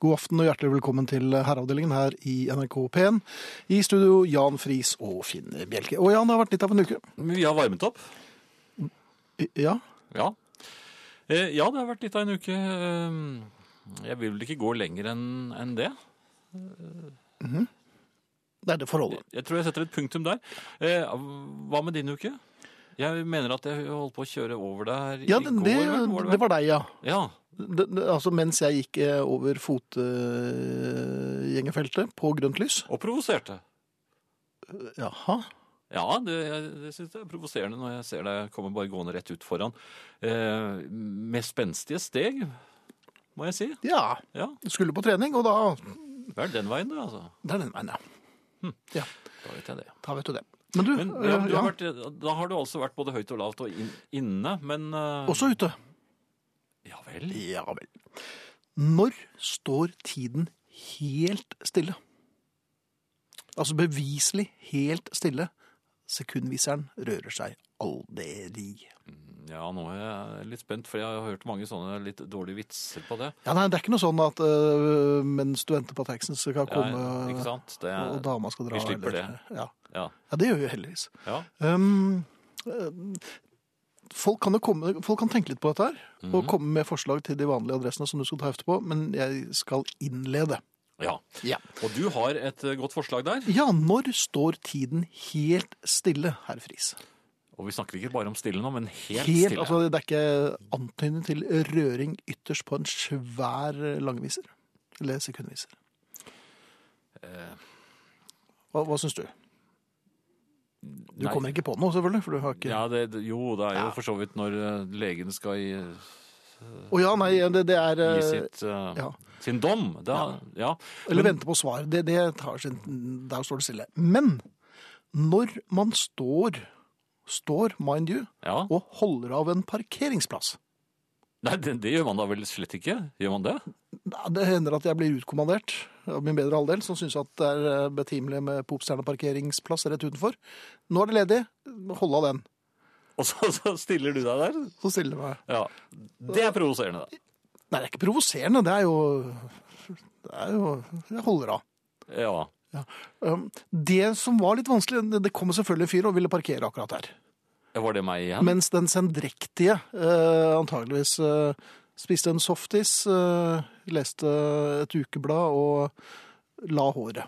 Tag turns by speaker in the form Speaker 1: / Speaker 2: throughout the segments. Speaker 1: God aften og hjertelig velkommen til Herreavdelingen her i NRK P1. I studio Jan Friis og Finn Bjelke. Og Jan, det har vært litt av en uke.
Speaker 2: Vi har varmet opp.
Speaker 1: I- Ja,
Speaker 2: Ja. Eh, ja, det har vært litt av en uke. Eh, Jeg vil vel ikke gå lenger enn enn det.
Speaker 1: det er det forholdet.
Speaker 2: Jeg tror jeg setter et punktum der. Eh, Hva med din uke? Jeg mener at jeg holdt på å kjøre over der i
Speaker 1: Ja, det,
Speaker 2: går.
Speaker 1: det,
Speaker 2: vel, var det,
Speaker 1: det var
Speaker 2: vel?
Speaker 1: deg, ja.
Speaker 2: Ja,
Speaker 1: Det, det, altså mens jeg gikk eh, over fotgjengerfeltet på grønt lys.
Speaker 2: Og provoserte.
Speaker 1: Jaha.
Speaker 2: Ja, det, jeg, det synes jeg er provoserende når jeg ser deg komme bare gående rett ut foran. Eh, med spenstige steg, må jeg si.
Speaker 1: Ja.
Speaker 2: Ja,
Speaker 1: Skulle på trening, og da
Speaker 2: det er den veien du, altså.
Speaker 1: Det er den veien, ja.
Speaker 2: Da vet jeg det.
Speaker 1: Da vet du det. Men du,
Speaker 2: Men ja,
Speaker 1: eh,
Speaker 2: du
Speaker 1: ja,
Speaker 2: har vært, da har du altså vært både høyt og lavt og inn, inne, men eh,
Speaker 1: også ute.
Speaker 2: Ja vel.
Speaker 1: Ja vel. Når står tiden helt stille? Altså beviselig helt stille. Sekundviseren rører seg aldri.
Speaker 2: Ja, nå er jeg litt spent, for jeg har hørt mange sånne litt dårlige vitser på det.
Speaker 1: Ja, nei, Det er ikke noe sånn at øh, mens du venter på at taxien skal
Speaker 2: Ja,
Speaker 1: komme,
Speaker 2: ikke sant? Det
Speaker 1: eh, og
Speaker 2: er,
Speaker 1: dama skal dra
Speaker 2: vi slipper
Speaker 1: det. Ja.
Speaker 2: ja,
Speaker 1: ja, det gjør vi heldigvis.
Speaker 2: ja.
Speaker 1: Um, um, folk, kan jo komme, folk kan tenke litt på dette her, og
Speaker 2: Mhm.
Speaker 1: komme med forslag til de vanlige adressene som du skal ta hefte på, men jeg skal innlede.
Speaker 2: ja.
Speaker 1: Ja.
Speaker 2: Og du har et eh, godt forslag der.
Speaker 1: Ja, når står tiden helt stille, herr Friis?
Speaker 2: Og vi snakker ikke bare om stille nå, men helt,
Speaker 1: Helt,
Speaker 2: stille.
Speaker 1: altså, det er ikke antydning til røring ytterst på en svær langviser. Eller sekundviser.
Speaker 2: Eh,
Speaker 1: Hva, hva syns du? Du
Speaker 2: nei.
Speaker 1: kommer ikke på noe, selvfølgelig, for du har ikke Å ja.
Speaker 2: ja, det, det- Jo, det er jo
Speaker 1: Ja.
Speaker 2: for så vidt når eh, legen skal gi,
Speaker 1: nei, det, det er
Speaker 2: gi
Speaker 1: eh,
Speaker 2: sitt, eh,
Speaker 1: ja.
Speaker 2: sin dom. Da, ja.
Speaker 1: Eller vente på svar. Det, det tar sin Der står det stille. Men når man står, står, mind you,
Speaker 2: ja.
Speaker 1: og holder av en parkeringsplass
Speaker 2: Nei, det, det gjør man da vel slett ikke? Gjør man det?
Speaker 1: Ja, Det hender at jeg blir utkommandert av min bedre halvdel, som syns at det er eh, betimelig med popstjerneparkeringsplass rett utenfor. Nå er det ledig, hold av den.
Speaker 2: Og så, så stiller du deg der?
Speaker 1: Så stiller jeg meg.
Speaker 2: Ja. Det er provoserende, da.
Speaker 1: Nei, det er ikke provoserende, det er jo Det er jo Jeg holder av.
Speaker 2: Ja.
Speaker 1: Um, Det som var litt vanskelig, det- det kom selvfølgelig en fyr og ville parkere akkurat her.
Speaker 2: Var det meg igjen?
Speaker 1: Mens den sendrektige eh, antageligvis eh, spiste en softis, eh, leste et ukeblad og la håret.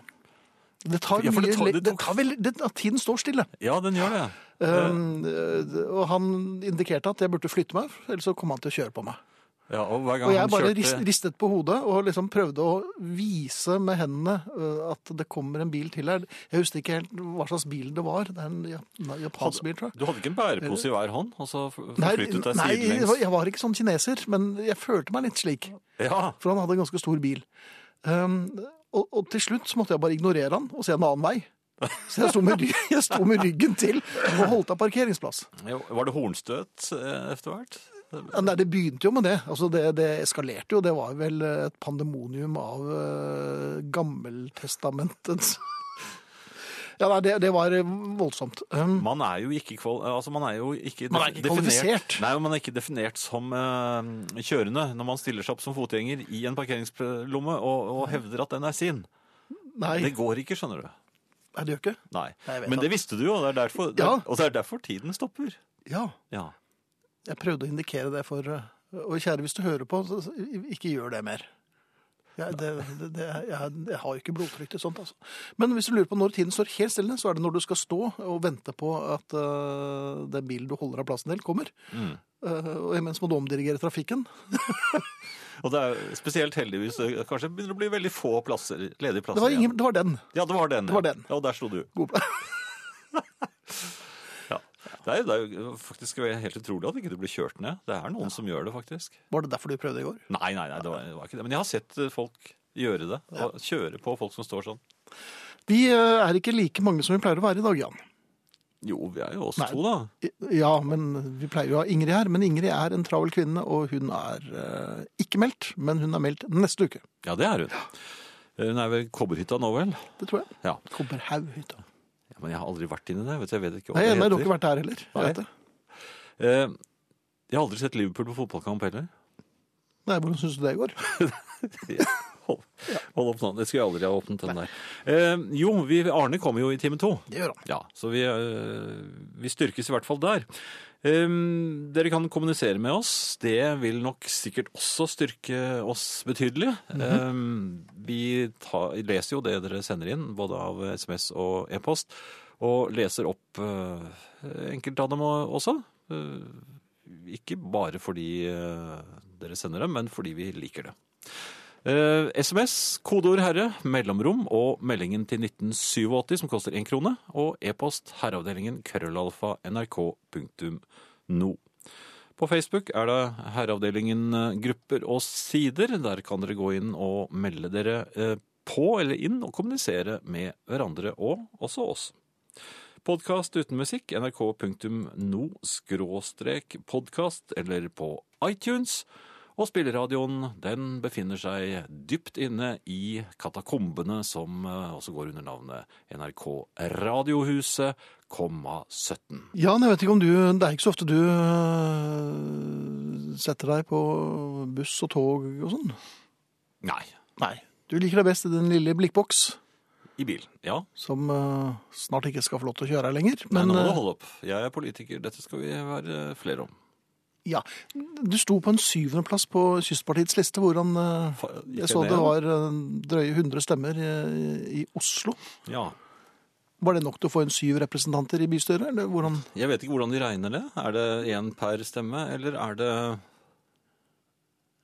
Speaker 1: Det tar
Speaker 2: Ja, for det
Speaker 1: mye
Speaker 2: tar-
Speaker 1: le-
Speaker 2: det
Speaker 1: det
Speaker 2: tok-
Speaker 1: tar veldig- det- at Tiden står stille.
Speaker 2: Ja, den gjør det.
Speaker 1: Um, eh, og han indikerte at jeg burde flytte meg, ellers så kom han til å kjøre på meg.
Speaker 2: Ja, og hver gang
Speaker 1: Og jeg
Speaker 2: han
Speaker 1: bare
Speaker 2: kjørte
Speaker 1: rist, ristet på hodet og liksom prøvde å vise med hendene eh, at det kommer en bil til her. Jeg husker ikke helt hva slags bil det var. Det er en ja- japansk bil, tror jeg.
Speaker 2: Du hadde ikke en bærepose i hver hånd, og så f-
Speaker 1: Nei,
Speaker 2: forflyttet deg
Speaker 1: nei jeg var-
Speaker 2: sidelengs?
Speaker 1: jeg var ikke sånn kineser, men jeg følte meg litt slik.
Speaker 2: Ja.
Speaker 1: For han hadde en ganske stor bil. Um, og, og til slutt så måtte jeg bare ignorere han og se en annen vei. Så jeg sto med, ry- jeg sto med ryggen til og holdt av parkeringsplass.
Speaker 2: Jo, Var det hornstøt eh, etter hvert?
Speaker 1: Ja, Nei, det begynte jo med det. Altså, det. Det eskalerte jo. Det var vel eh, et pandemonium av uh, gammeltestamentets Ja, nei, det, det var eh, voldsomt. Um,
Speaker 2: Man er jo ikke, kval altså, man er jo ikke,
Speaker 1: Man er ikke kvalifisert.
Speaker 2: Nei, man er ikke definert som eh, kjørende når man stiller seg opp som fotgjenger i en parkeringslomme og, og hevder at den er sin.
Speaker 1: nei,
Speaker 2: Det går ikke, skjønner du.
Speaker 1: nei, det gjør ikke
Speaker 2: Nei.
Speaker 1: Nei, jeg vet
Speaker 2: Men
Speaker 1: at-
Speaker 2: det visste du jo, og det er derfor,
Speaker 1: Ja.
Speaker 2: og det er derfor tiden stopper.
Speaker 1: Ja.
Speaker 2: Ja.
Speaker 1: Jeg prøvde å indikere det for eh, Og kjære, hvis du hører på, så så ikke gjør det mer. Jeg, det, det, det, jeg, jeg har jo ikke blodtrykk til sånt, altså. Men hvis du lurer på når tiden står helt stille, så er det når du skal stå og vente på at eh, den bilen du holder av plassen til, kommer.
Speaker 2: Mm.
Speaker 1: Eh, og imens må du omdirigere trafikken.
Speaker 2: Og det er jo spesielt heldigvis eh, kanskje begynner det å bli veldig få plasser, ledige
Speaker 1: Det
Speaker 2: plasser
Speaker 1: var, ingen, det var den.
Speaker 2: igjen. Altså, Ja, det var den.
Speaker 1: Det var
Speaker 2: ja.
Speaker 1: den.
Speaker 2: Ja, og der sto du.
Speaker 1: Gode pla-
Speaker 2: Ja. Det, er, jo- det er jo faktisk helt utrolig at ikke du blir kjørt ned. Det er noen som gjør det, faktisk.
Speaker 1: Var det derfor du prøvde i går?
Speaker 2: Nei, nei, nei, det var, det var ikke det. Men jeg har sett eh, folk gjøre det. Og kjøre på folk som står sånn.
Speaker 1: De eh, er ikke like mange som vi pleier å være i dag, Jan.
Speaker 2: Jo, vi er jo oss
Speaker 1: Nei.
Speaker 2: to, da.
Speaker 1: I- Ja, men vi pleier jo å ha Ingrid her. Men Ingrid er en travel kvinne, og hun er eh, ikke meldt. Men hun er meldt neste uke.
Speaker 2: Ja, det er hun. Eh, Hun er ved Kobberhytta nå, vel?
Speaker 1: Det tror jeg.
Speaker 2: Ja.
Speaker 1: Kobberhaughytta.
Speaker 2: ja. Men jeg har aldri vært inni det. Vet du, jeg vet ikke hva
Speaker 1: Nei, nei,
Speaker 2: det
Speaker 1: du har ikke
Speaker 2: heter.
Speaker 1: vært der heller. Jeg
Speaker 2: Nei.
Speaker 1: vet det.
Speaker 2: Eh, Jeg har aldri sett Liverpool på fotballkamp heller.
Speaker 1: Nei, hvordan syns du det går?
Speaker 2: Hold opp nå. Det skulle jeg aldri ha åpnet den der. Eh, jo, vi, Arne kommer jo i time to.
Speaker 1: Det gjør han.
Speaker 2: Ja, så vi, eh, vi styrkes i hvert fall der. Ehm, dere kan kommunisere med oss. Det vil nok sikkert også styrke oss betydelig. Ehm, vi tar, leser jo det dere sender inn, både av SMS og e-post, og leser opp eh, enkelte av dem også. Eh, ikke bare fordi eh, dere sender dem, men fordi vi liker det. Eh, SMS, kodeord 'herre', mellomrom og meldingen til 1987 som koster én krone. Og e-post herreavdelingen krøllalfa nrk.no. På Facebook er det Herreavdelingen eh, grupper og sider. Der kan dere gå inn og melde dere eh, på eller inn og kommunisere med hverandre og også oss. Podkast uten musikk, nrk.no-podkast eller på iTunes. Og spilleradioen den befinner seg dypt inne i katakombene som eh, også går under navnet NRK Radiohuset, komma 17.
Speaker 1: Jan, jeg vet ikke om du Det er ikke så ofte du øh, setter deg på buss og tog og sånn.
Speaker 2: Nei,
Speaker 1: Nei. Du liker deg best i den lille blikkboks,
Speaker 2: i bilen. Ja,
Speaker 1: som øh, snart ikke skal få lov til å kjøre her lenger.
Speaker 2: Nei, nå må du
Speaker 1: øh,
Speaker 2: holde opp. Jeg er politiker, dette skal vi være flere om.
Speaker 1: ja. Du sto på en syvendeplass på Kystpartiets liste. Hvordan øh,
Speaker 2: Fa- gikk
Speaker 1: Jeg så
Speaker 2: ned?
Speaker 1: det var øh, drøye 100 stemmer øh, i Oslo.
Speaker 2: Ja.
Speaker 1: Var det nok til å få en syv representanter i bystyret? Eller hvordan?
Speaker 2: Jeg vet ikke hvordan de regner det. Er det én per stemme, eller er det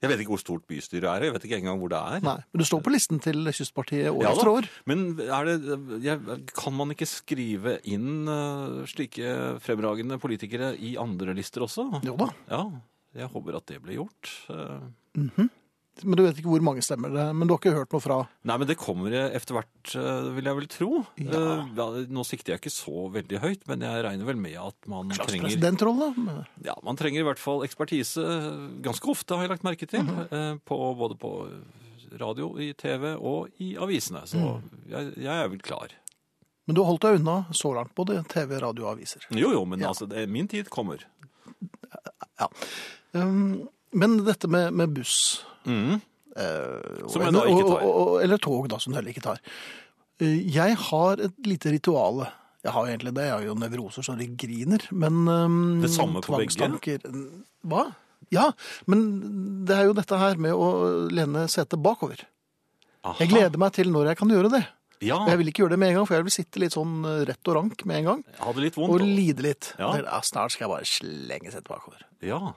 Speaker 2: Jeg vet ikke hvor stort bystyret er, jeg vet ikke engang hvor det er.
Speaker 1: Nei, men du står på listen til Kystpartiet år
Speaker 2: Ja da.
Speaker 1: etter år.
Speaker 2: Men er det, jeg, kan man ikke skrive inn eh, slike fremragende politikere i andre lister også?
Speaker 1: Jo da.
Speaker 2: Ja, jeg håper at det ble gjort. Eh,
Speaker 1: Men du vet ikke hvor mange stemmer det er. Men du har ikke hørt noe fra
Speaker 2: Nei, men det kommer etter hvert, eh, vil jeg vel tro.
Speaker 1: Ja.
Speaker 2: Eh, ja, nå sikter jeg ikke så veldig høyt, men jeg regner vel med at man
Speaker 1: slags
Speaker 2: trenger
Speaker 1: presidentrolle? Men-
Speaker 2: Ja, man trenger i hvert fall ekspertise eh, ganske ofte, har jeg lagt merke til.
Speaker 1: Mhm.
Speaker 2: eh, på, både på radio, i TV og i avisene. Så
Speaker 1: Mm.
Speaker 2: jeg, jeg er vel klar.
Speaker 1: Men du har holdt deg unna så langt, både TV, radio og aviser.
Speaker 2: Jo, jo, men
Speaker 1: Ja.
Speaker 2: altså, det, min tid kommer.
Speaker 1: Um, men dette med, med buss Mm.
Speaker 2: Mhm.
Speaker 1: eh,
Speaker 2: Som jeg da ikke
Speaker 1: og-
Speaker 2: tar.
Speaker 1: Og, og, eller tog, da, som du heller ikke tar. Eh, Jeg har et lite ritual. Jeg har jo egentlig det. Jeg har jo nevroser så det griner. Men um,
Speaker 2: Det samme på begge?
Speaker 1: tvangstanker Hva? Ja, men det er jo dette her med å lene setet bakover.
Speaker 2: Aha.
Speaker 1: Jeg gleder meg til når jeg kan gjøre det.
Speaker 2: Ja,
Speaker 1: Og Jeg vil ikke gjøre det med en gang, for jeg vil sitte litt sånn eh, rett og rank med en gang.
Speaker 2: jeg hadde litt
Speaker 1: Og
Speaker 2: vondt.
Speaker 1: lide litt.
Speaker 2: Ja.
Speaker 1: Det er, Ja, snart skal jeg bare slenge setet bakover.
Speaker 2: Ja,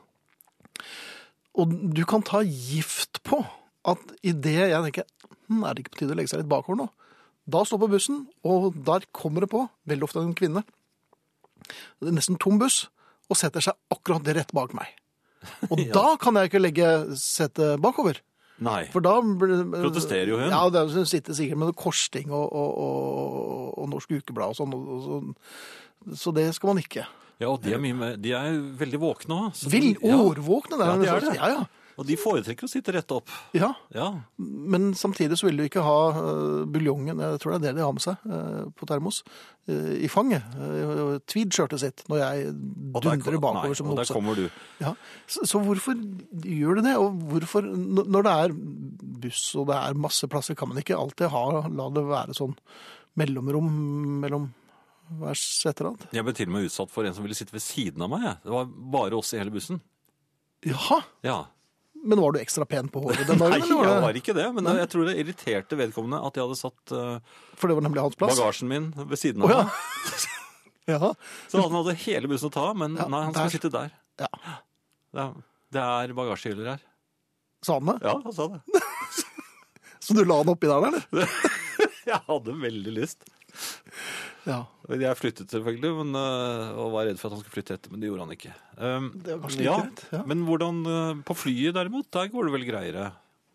Speaker 1: Og du kan ta gift på at idet jeg tenker hm, Er det ikke på tide å legge seg litt bakover nå? Da står jeg på bussen, og der kommer det på, veldig ofte en kvinne, det er nesten tom buss, og setter seg akkurat rett bak meg. Og
Speaker 2: Ja.
Speaker 1: da kan jeg ikke legge setet bakover.
Speaker 2: nei.
Speaker 1: For da blir-
Speaker 2: Protesterer jo hun.
Speaker 1: Ja, det er, jo- hun sitter sikkert med noe korsting og, og, og, og Norsk Ukeblad og sånn. Og, og, sånn. så det skal man ikke.
Speaker 2: Ja, og de er, mye mer, de er veldig våkne òg.
Speaker 1: Vill årvåkne, det
Speaker 2: Ja,
Speaker 1: er
Speaker 2: det
Speaker 1: ja,
Speaker 2: er det.
Speaker 1: Ja, ja.
Speaker 2: Og de foretrekker å sitte rett opp.
Speaker 1: Ja,
Speaker 2: Ja,
Speaker 1: men samtidig så vil du ikke ha øh, buljongen, jeg tror det er det de har med seg øh, på termos, øh, i fanget. Uh, Tweed-skjørtet sitt, når jeg
Speaker 2: og der-
Speaker 1: dundrer bakover
Speaker 2: nei,
Speaker 1: som
Speaker 2: Og der
Speaker 1: nose.
Speaker 2: kommer du.
Speaker 1: Ja. Så, så hvorfor gjør du det? Og hvorfor, n- når det er buss og det er masse plasser, kan man ikke alltid ha, la det være sånn mellomrom mellom hver seterad?
Speaker 2: Jeg ble til og med utsatt for en som ville sitte ved siden av meg. jeg. Det var bare oss i hele bussen.
Speaker 1: Jaha,
Speaker 2: Ja.
Speaker 1: men var du ekstra pen på håret den dagen?
Speaker 2: Nei,
Speaker 1: eller
Speaker 2: jeg
Speaker 1: var
Speaker 2: var ikke det, men jeg tror det irriterte vedkommende at jeg hadde satt eh,
Speaker 1: det? For det var nemlig hans plass?
Speaker 2: bagasjen min ved siden
Speaker 1: Å
Speaker 2: av.
Speaker 1: ja.
Speaker 2: meg.
Speaker 1: ja.
Speaker 2: Så han hadde hele bussen å ta, men
Speaker 1: Ja,
Speaker 2: nei, han skulle
Speaker 1: der.
Speaker 2: sitte der.
Speaker 1: Ja.
Speaker 2: Det er, det er bagasjehyller her.
Speaker 1: Sa han det?
Speaker 2: Ja, han sa det.
Speaker 1: Så du la han oppi der, eller?
Speaker 2: Jeg hadde veldig lyst.
Speaker 1: Ja.
Speaker 2: Jeg flyttet selvfølgelig, men, øh, og var redd for at han skulle flytte etter, men det gjorde han ikke. Um,
Speaker 1: Det var kanskje like
Speaker 2: ja,
Speaker 1: greit, ja.
Speaker 2: Men hvordan øh, På flyet derimot, der går det vel greiere?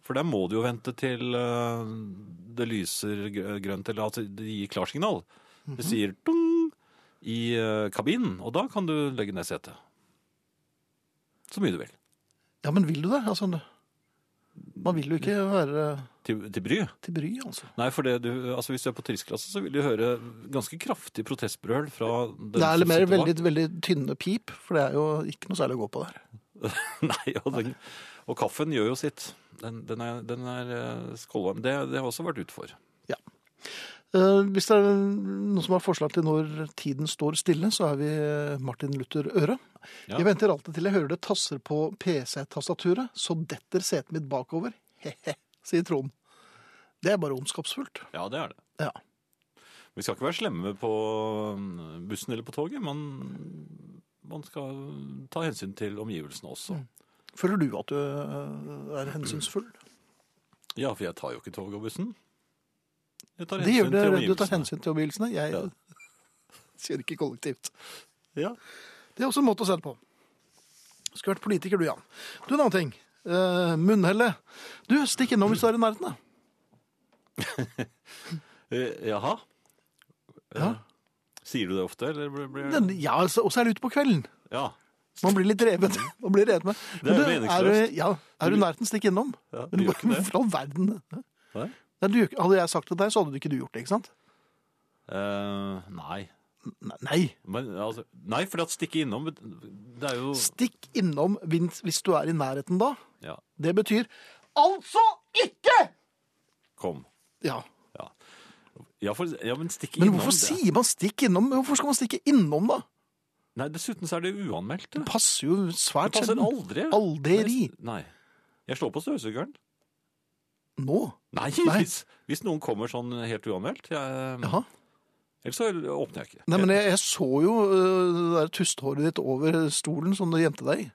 Speaker 2: For der må du jo vente til øh, det lyser gr- grønt, eller at de gir klarsignal.
Speaker 1: Mhm.
Speaker 2: Det sier dung i øh, kabinen, og da kan du legge ned setet. Så mye du vil.
Speaker 1: Ja, men vil du det? Altså, man vil jo ikke være
Speaker 2: Til, til bry.
Speaker 1: til bry, altså.
Speaker 2: Nei, for det du, altså hvis du er på turistklasse, så vil du høre ganske kraftig protestbrøl fra den
Speaker 1: Det er
Speaker 2: som
Speaker 1: litt mer
Speaker 2: sitter bak.
Speaker 1: veldig, veldig tynne pip, for det er jo ikke noe særlig å gå på der.
Speaker 2: Nei, og, den, og kaffen gjør jo sitt. Den, den er, den er eh, skålvarm. Det, det har jeg også vært ute for.
Speaker 1: Eh, Hvis det er noen som har forslag til når tiden står stille, så er vi eh, Martin Luther Øre.
Speaker 2: Ja.
Speaker 1: Jeg venter alltid til jeg hører det tasser på PC-tastaturet, så detter setet mitt bakover. He-he, sier Trond. Det er bare ondskapsfullt.
Speaker 2: Ja, det er det.
Speaker 1: Ja.
Speaker 2: Vi skal ikke være slemme på mm, bussen eller på toget, men man skal ta hensyn til omgivelsene også.
Speaker 1: Mm. Føler du at du eh, er hensynsfull?
Speaker 2: Mm. Ja, for jeg tar jo ikke tog og bussen. Jeg tar
Speaker 1: Det gjør
Speaker 2: hensyn
Speaker 1: det,
Speaker 2: til
Speaker 1: du
Speaker 2: omgivelsene.
Speaker 1: tar hensyn til omgivelsene. Jeg
Speaker 2: Ja.
Speaker 1: kjører ikke kollektivt.
Speaker 2: Ja.
Speaker 1: Det er også en måte å se det på. Skulle vært politiker du, Jan. Du, en annen ting. Eh, munnhellet. Du, stikk innom hvis du er i nærheten. da.
Speaker 2: Eh, jaha.
Speaker 1: Ja.
Speaker 2: Eh, Sier du det ofte, eller blir, blir...
Speaker 1: Den, ja, så- og så er det ute på kvelden.
Speaker 2: Ja.
Speaker 1: Man blir litt revet. Man blir revet med.
Speaker 2: Mm. Det er
Speaker 1: Men du,
Speaker 2: meningsløst.
Speaker 1: Er du, ja, er du i nærheten, stikk innom.
Speaker 2: ja, du
Speaker 1: Men
Speaker 2: gjør ikke det.
Speaker 1: Hvorfor all verden?
Speaker 2: Nei.
Speaker 1: Nei, du, gjør ikke- hadde jeg sagt det til deg, så hadde du ikke du gjort det, ikke sant?
Speaker 2: Eh, nei.
Speaker 1: Nei, Nei.
Speaker 2: Men, altså, nei, for at stikke innom, det er jo...
Speaker 1: Stikk innom hvis hvis du er i nærheten da.
Speaker 2: Ja,
Speaker 1: Det betyr altså ikke!
Speaker 2: kom.
Speaker 1: Ja,
Speaker 2: Ja, ja, for, ja men stikke
Speaker 1: Men
Speaker 2: innom...
Speaker 1: hvorfor
Speaker 2: det-
Speaker 1: sier man stikk innom? Hvorfor skal man stikke innom, da?
Speaker 2: Nei, dessuten så er det uanmeldt.
Speaker 1: Det
Speaker 2: Det
Speaker 1: passer jo
Speaker 2: Det
Speaker 1: svært
Speaker 2: passer
Speaker 1: sjelden.
Speaker 2: aldri.
Speaker 1: Aldri.
Speaker 2: Nei. Jeg slår på støvsugeren.
Speaker 1: Nå.
Speaker 2: Nei,
Speaker 1: Nei.
Speaker 2: Hvis, hvis noen kommer sånn helt uanmeldt. Jeg,
Speaker 1: Jaha.
Speaker 2: Ellers så åpner jeg ikke.
Speaker 1: Nei, men jeg, jeg så jo øh, det der tusthåret ditt over stolen som du gjemte deg i.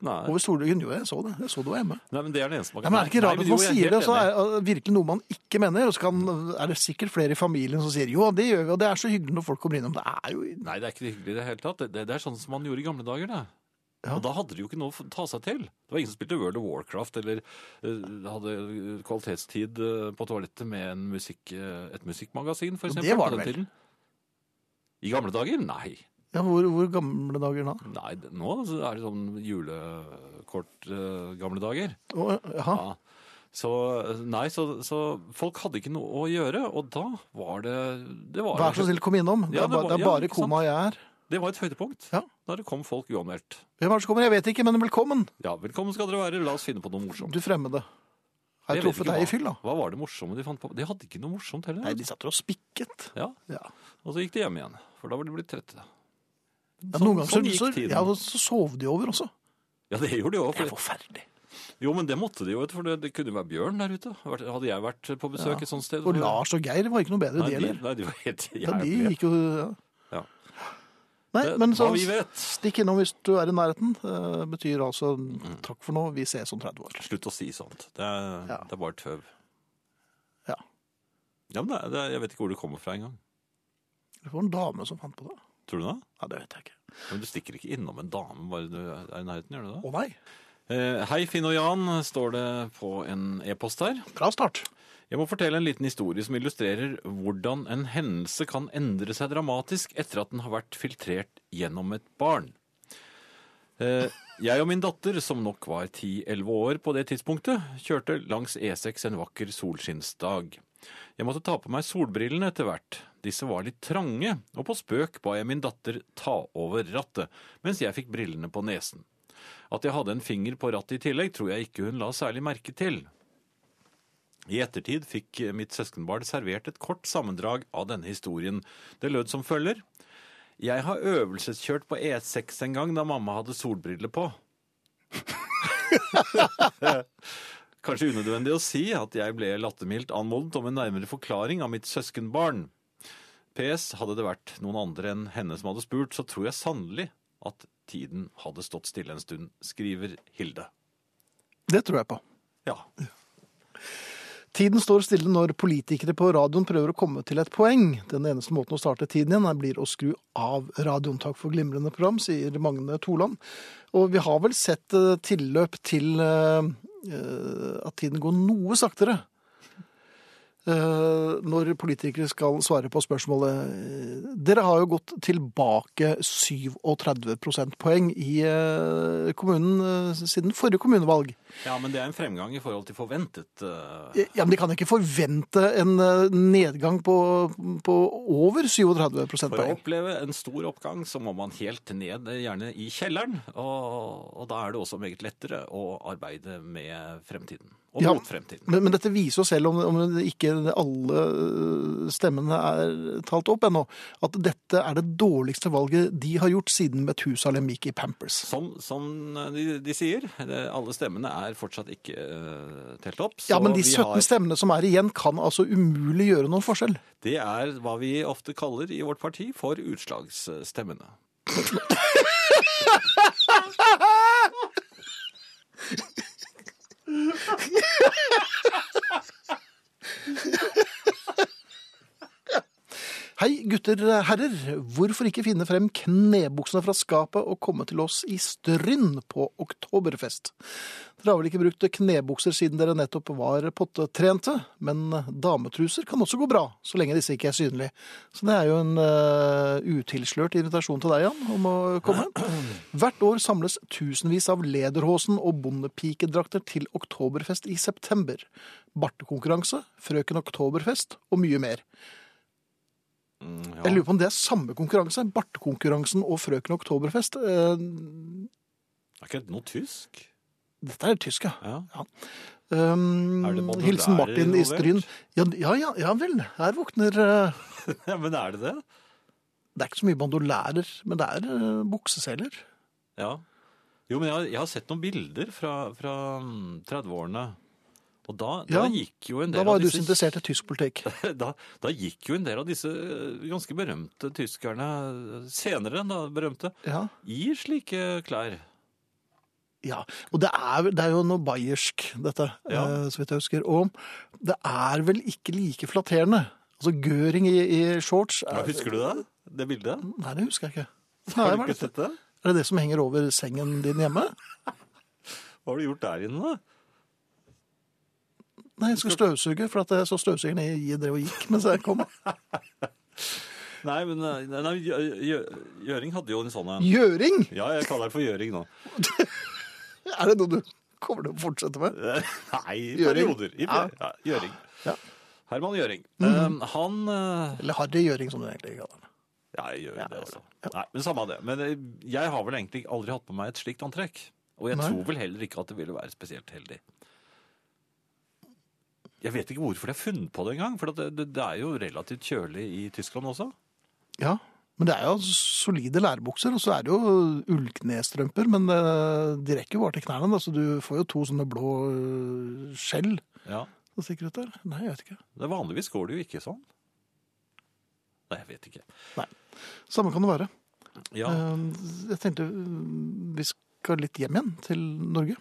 Speaker 2: Nei.
Speaker 1: Over stolryggen. Jo, jeg så det. Jeg så det var hjemme.
Speaker 2: Nei, men det er det eneste man
Speaker 1: Ja,
Speaker 2: kan
Speaker 1: men er det ikke
Speaker 2: Nei,
Speaker 1: rart at
Speaker 2: men jo,
Speaker 1: man
Speaker 2: jeg er
Speaker 1: sier det,
Speaker 2: helt
Speaker 1: og så
Speaker 2: enig.
Speaker 1: er det virkelig noe man ikke mener? Og så kan, er det sikkert flere i familien som sier jo, det gjør vi, og det er så hyggelig når folk kommer innom. Det er jo
Speaker 2: Nei, det er ikke hyggelig i det hele tatt. Det, det, det er sånn som man gjorde i gamle dager, det.
Speaker 1: Ja.
Speaker 2: Og da hadde de jo ikke noe å ta seg til. Det var ingen som spilte World of Warcraft eller eh, hadde kvalitetstid eh, på toalettet med en musikk, eh, et musikkmagasin, for
Speaker 1: Og det
Speaker 2: eksempel.
Speaker 1: var
Speaker 2: på
Speaker 1: det
Speaker 2: den tiden. I gamle dager? Nei.
Speaker 1: ja, hvor, hvor gamle dager da?
Speaker 2: Nei, det- nå er det sånn julekort eh, gamle dager.
Speaker 1: Å, jaha.
Speaker 2: Ja. Så, eh, nei, så, så folk hadde ikke noe å gjøre, og da var det Det var,
Speaker 1: Vær så snill, kom innom. Det
Speaker 2: Ja,
Speaker 1: er,
Speaker 2: det
Speaker 1: ba,
Speaker 2: var-
Speaker 1: det er
Speaker 2: ja,
Speaker 1: bare
Speaker 2: ikke sant?
Speaker 1: koma jeg er.
Speaker 2: det var et høydepunkt.
Speaker 1: Ja.
Speaker 2: Da det kom folk uanmeldt.
Speaker 1: Hvem er det som kommer? Jeg vet ikke, men velkommen.
Speaker 2: Ja, velkommen skal dere være. La oss finne på noe morsomt.
Speaker 1: Du fremmede. Har
Speaker 2: Jeg
Speaker 1: jeg
Speaker 2: Sånn. vet
Speaker 1: truffet
Speaker 2: ikke
Speaker 1: deg
Speaker 2: hva-
Speaker 1: i fyll, da?
Speaker 2: Hva var det morsomme de fant på? De hadde ikke noe morsomt heller.
Speaker 1: Nei, de satt og spikket.
Speaker 2: Ja,
Speaker 1: Ja.
Speaker 2: Og så gikk de hjem igjen, for da var de blitt trette.
Speaker 1: Ja, noen ganger
Speaker 2: sånn
Speaker 1: så,
Speaker 2: gikk
Speaker 1: så,
Speaker 2: tiden.
Speaker 1: ja, og så sov de over også.
Speaker 2: Ja, det gjorde de jo.
Speaker 1: Det er
Speaker 2: For,
Speaker 1: forferdelig.
Speaker 2: jo, men det måtte de jo, vet du, for det, det kunne jo være bjørn der ute. Hadde jeg vært på besøk et sånt sted
Speaker 1: Og Lars og Geir var ikke noe bedre,
Speaker 2: Nei,
Speaker 1: de
Speaker 2: de,
Speaker 1: heller.
Speaker 2: nei, de var helt
Speaker 1: Ja, de
Speaker 2: jævlige.
Speaker 1: gikk jo ja.
Speaker 2: Ja.
Speaker 1: Nei,
Speaker 2: Det-
Speaker 1: men sånn- så
Speaker 2: hva vi vet.
Speaker 1: stikk innom hvis du er i nærheten. eh, betyr altså takk for nå, vi ses om 30 år.
Speaker 2: Slutt å si sånt. Det er,
Speaker 1: Ja.
Speaker 2: det er bare tøv.
Speaker 1: Ja.
Speaker 2: Ja, men det, er- det, er- jeg vet ikke hvor det kommer fra engang.
Speaker 1: Det var en dame som fant på det.
Speaker 2: Tror du det?
Speaker 1: Ja, det vet jeg ikke.
Speaker 2: Men du stikker ikke innom en dame bare du er i nærheten, gjør du det?
Speaker 1: Å nei,
Speaker 2: Eh, hei, Finn og Jan, står det på en e-post her.
Speaker 1: bra start.
Speaker 2: Jeg må fortelle en liten historie som illustrerer hvordan en hendelse kan endre seg dramatisk etter at den har vært filtrert gjennom et barn. Eh, Jeg og min datter, som nok var 10-11 år på det tidspunktet, kjørte langs E6 en vakker solskinnsdag. Jeg måtte ta på meg solbrillene etter hvert. Disse var litt trange, og på spøk ba jeg min datter ta over rattet, mens jeg fikk brillene på nesen. At jeg hadde en finger på rattet i tillegg, tror jeg ikke hun la særlig merke til. I ettertid fikk mitt søskenbarn servert et kort sammendrag av denne historien. Det lød som følger. Jeg har øvelseskjørt på E6 en gang da mamma hadde solbriller på. Kanskje unødvendig å si at jeg ble lattermildt anmodet om en nærmere forklaring av mitt søskenbarn. PS, hadde det vært noen andre enn henne som hadde spurt, så tror jeg sannelig at tiden hadde stått stille en stund, skriver Hilde.
Speaker 1: Det tror jeg på.
Speaker 2: Ja.
Speaker 1: Tiden står stille når politikere på radioen prøver å komme til et poeng. Den eneste måten å starte tiden igjen er- blir å skru av radioen. Takk for glimrende program, sier Magne Toland. Og vi har vel sett eh, tilløp til eh, eh, at tiden går noe saktere. eh, når politikere skal svare på spørsmålet Dere har jo gått tilbake 37 prosentpoeng i eh, kommunen eh, siden forrige kommunevalg.
Speaker 2: Ja, men det er en fremgang i forhold til forventet. eh,
Speaker 1: Ja, men De kan ikke forvente en eh, nedgang på, på over 37
Speaker 2: For å
Speaker 1: prosentpoeng.
Speaker 2: oppleve en stor oppgang så må man helt ned, eh, gjerne i kjelleren. Og, og da er det også meget lettere å arbeide med fremtiden. Og
Speaker 1: Ja.
Speaker 2: mot fremtiden.
Speaker 1: Men, men dette viser jo selv, om, om ikke alle øh, stemmene er talt opp ennå, at dette er det dårligste valget de har gjort siden Methusalem gikk i Pampers.
Speaker 2: Som, som de, de sier, det, alle stemmene er fortsatt ikke eh, telt opp.
Speaker 1: Ja, men de
Speaker 2: vi
Speaker 1: 17
Speaker 2: har-
Speaker 1: stemmene som er igjen, kan altså umulig gjøre noen forskjell.
Speaker 2: Det er hva vi ofte kaller i vårt parti for utslagsstemmene.
Speaker 1: Hei, gutter, eh, herrer. Hvorfor ikke finne frem knebuksene fra skapet og komme til oss i Stryn på oktoberfest? Dere har vel ikke brukt knebukser siden dere nettopp var pottetrente, men dametruser kan også gå bra, så lenge disse ikke er synlige. Så det er jo en eh, utilslørt invitasjon til deg, Jan, om å komme. Hvert år samles tusenvis av lederhosen og bondepikedrakter til oktoberfest i september. Bartekonkurranse, Frøken Oktoberfest og mye mer.
Speaker 2: Mm, ja.
Speaker 1: Jeg lurer på om det er samme konkurranse, Bartekonkurransen og Frøken Oktoberfest. Eh,
Speaker 2: Er ikke det noe tysk?
Speaker 1: Dette er tysk, ja.
Speaker 2: Ja.
Speaker 1: Um,
Speaker 2: Er det modulære
Speaker 1: Hilsen Martin i
Speaker 2: involvert?
Speaker 1: Stryn. Ja, ja, ja, ja vel, her våkner eh,
Speaker 2: ja, men er det det?
Speaker 1: Det er ikke så mye bandolærer, men det er eh, bukseseler.
Speaker 2: Ja. Jo, men jeg, har- jeg har sett noen bilder fra, fra mm, 30-årene. Og da, da
Speaker 1: Ja,
Speaker 2: gikk jo en
Speaker 1: Da
Speaker 2: del
Speaker 1: var
Speaker 2: av
Speaker 1: jo du så
Speaker 2: disse
Speaker 1: interessert i tysk politikk.
Speaker 2: da, da gikk jo en del av disse eh, ganske berømte tyskerne, eh, senere enn da berømte,
Speaker 1: Ja,
Speaker 2: i slike klær.
Speaker 1: ja. Og det er, det er jo noe bayersk, dette,
Speaker 2: Ja.
Speaker 1: eh, så vidt jeg husker. Og det er vel ikke like flatterende. Altså Göring i, i shorts
Speaker 2: Ja,
Speaker 1: er,
Speaker 2: husker du det? Det bildet?
Speaker 1: Nei, det husker jeg ikke. Nei,
Speaker 2: Har du
Speaker 1: hva er,
Speaker 2: ikke
Speaker 1: det,
Speaker 2: sett det?
Speaker 1: er det det som henger over sengen din hjemme?
Speaker 2: Hva har du gjort der inne, da?
Speaker 1: Nei, jeg skal støvsuge, for at jeg så støvsugeren i det og gikk mens jeg kom.
Speaker 2: Nei, men eh, nei, nei, Gjø- Gjø- Gjøring hadde jo en sånn en.
Speaker 1: Gjøring!
Speaker 2: Ja, jeg kaller det for Gjøring nå.
Speaker 1: Er det noe du kommer til å fortsette med?
Speaker 2: Eh, Nei, i
Speaker 1: Gjøring.
Speaker 2: perioder. I
Speaker 1: Ja.
Speaker 2: per- ja, Gjøring.
Speaker 1: Ja. Mhm.
Speaker 2: Herman Gjøring. Eh, han eh,
Speaker 1: Eller Harry Gjøring, som du egentlig kaller den.
Speaker 2: Ja, jeg gjør
Speaker 1: Ja,
Speaker 2: det, altså.
Speaker 1: ja.
Speaker 2: Nei, men samme av det. Men eh, jeg har vel egentlig aldri hatt på meg et slikt antrekk. Og jeg
Speaker 1: Nei.
Speaker 2: tror vel heller ikke at det ville være spesielt heldig. Jeg vet ikke hvorfor de har funnet på det engang, for at det, det, det er jo relativt kjølig i Tyskland også.
Speaker 1: Ja, men det er jo solide lærbukser, og så er det jo ullknestrømper, men eh, de rekker jo bare til knærne, da, så du får jo to sånne blå eh, skjell
Speaker 2: Ja.
Speaker 1: som stikker ut der. Nei, jeg vet ikke.
Speaker 2: Det Vanligvis går det jo ikke sånn. Nei, jeg vet ikke.
Speaker 1: Samme kan det være.
Speaker 2: Ja,
Speaker 1: Eh, Jeg tenkte eh, vi skal litt hjem igjen til Norge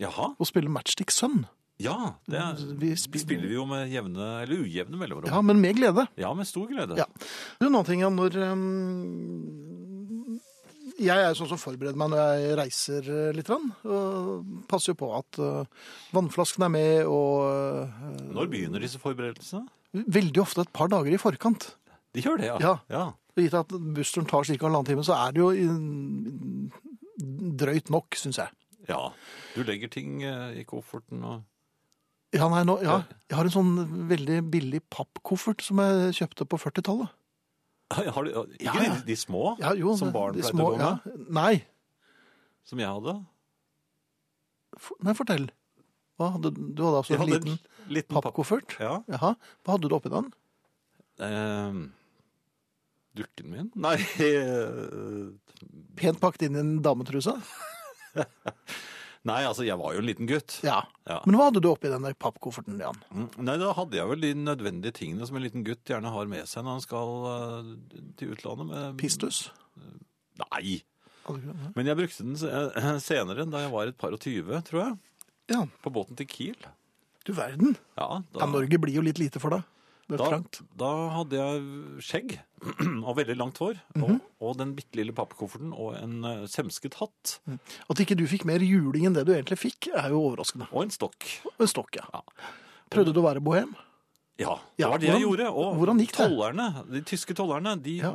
Speaker 2: Jaha.
Speaker 1: og spille Matchstick Sun.
Speaker 2: Ja, det er,
Speaker 1: Mm, Vi
Speaker 2: vi
Speaker 1: spiller-
Speaker 2: spiller, jo med jevne, eller ujevne mellomrom.
Speaker 1: Ja,
Speaker 2: Ja.
Speaker 1: men med glede.
Speaker 2: med stor glede.
Speaker 1: Ja. Det er noen ting ja, når ehm, Jeg er jo sånn som forbereder meg når jeg reiser eh, litt. grann, Og passer jo på at eh, vannflasken er med, og
Speaker 2: Når begynner disse forberedelsene?
Speaker 1: eh, veldig ofte et par dager i forkant.
Speaker 2: De gjør det, ja.
Speaker 1: Ja.
Speaker 2: ja.
Speaker 1: Og Gitt at bussturen tar ca. halvannen time, så er det jo i- drøyt nok, syns jeg.
Speaker 2: Ja. Du legger ting eh, i kofferten og
Speaker 1: Ja, nei, nå, ja. Jeg har en sånn veldig billig pappkoffert som jeg kjøpte på 40-tallet.
Speaker 2: har du, Ikke
Speaker 1: Ja, ja.
Speaker 2: De, de små
Speaker 1: Ja, jo,
Speaker 2: som barn
Speaker 1: de
Speaker 2: pleide å
Speaker 1: små-
Speaker 2: gå med,
Speaker 1: ja. Nei,
Speaker 2: som jeg hadde?
Speaker 1: for, nei, fortell. Hva hadde, du hadde altså
Speaker 2: Jeg
Speaker 1: en
Speaker 2: hadde
Speaker 1: liten
Speaker 2: en liten papp...
Speaker 1: pappkoffert?
Speaker 2: Ja.
Speaker 1: Jaha. Hva hadde du oppi den?
Speaker 2: Eh, durken min? Nei eh,
Speaker 1: Pent pakket inn i en dametruse?
Speaker 2: Nei, altså, jeg var jo en liten gutt.
Speaker 1: Ja.
Speaker 2: Ja.
Speaker 1: Men hva hadde du oppi den der pappkofferten, Jan?
Speaker 2: Mm, Nei, da hadde jeg vel de nødvendige tingene som en liten gutt gjerne har med seg når han skal eh, til utlandet med
Speaker 1: Pistus?
Speaker 2: Nei!
Speaker 1: Hadde du ikke det?
Speaker 2: Men jeg brukte den se- eh, senere, da jeg var et par og tyve, tror jeg.
Speaker 1: Ja.
Speaker 2: På båten til Kiel.
Speaker 1: Du verden.
Speaker 2: Ja,
Speaker 1: Ja,
Speaker 2: da,
Speaker 1: Norge blir jo litt lite for deg. Det er
Speaker 2: da,
Speaker 1: trangt.
Speaker 2: da hadde jeg skjegg og veldig langt hår.
Speaker 1: Mhm.
Speaker 2: og, og den bitte lille pappkofferten og en eh, semsket hatt.
Speaker 1: At ikke du fikk mer juling enn det du egentlig fikk, er jo overraskende.
Speaker 2: Og en stokk.
Speaker 1: En stokk, ja.
Speaker 2: Ja.
Speaker 1: Prøvde du å være bohem?
Speaker 2: Ja, det
Speaker 1: Ja,
Speaker 2: var det jeg
Speaker 1: hvordan-
Speaker 2: gjorde. Og
Speaker 1: hvordan gikk det?
Speaker 2: Tollerne, de tyske tollerne de
Speaker 1: Ja.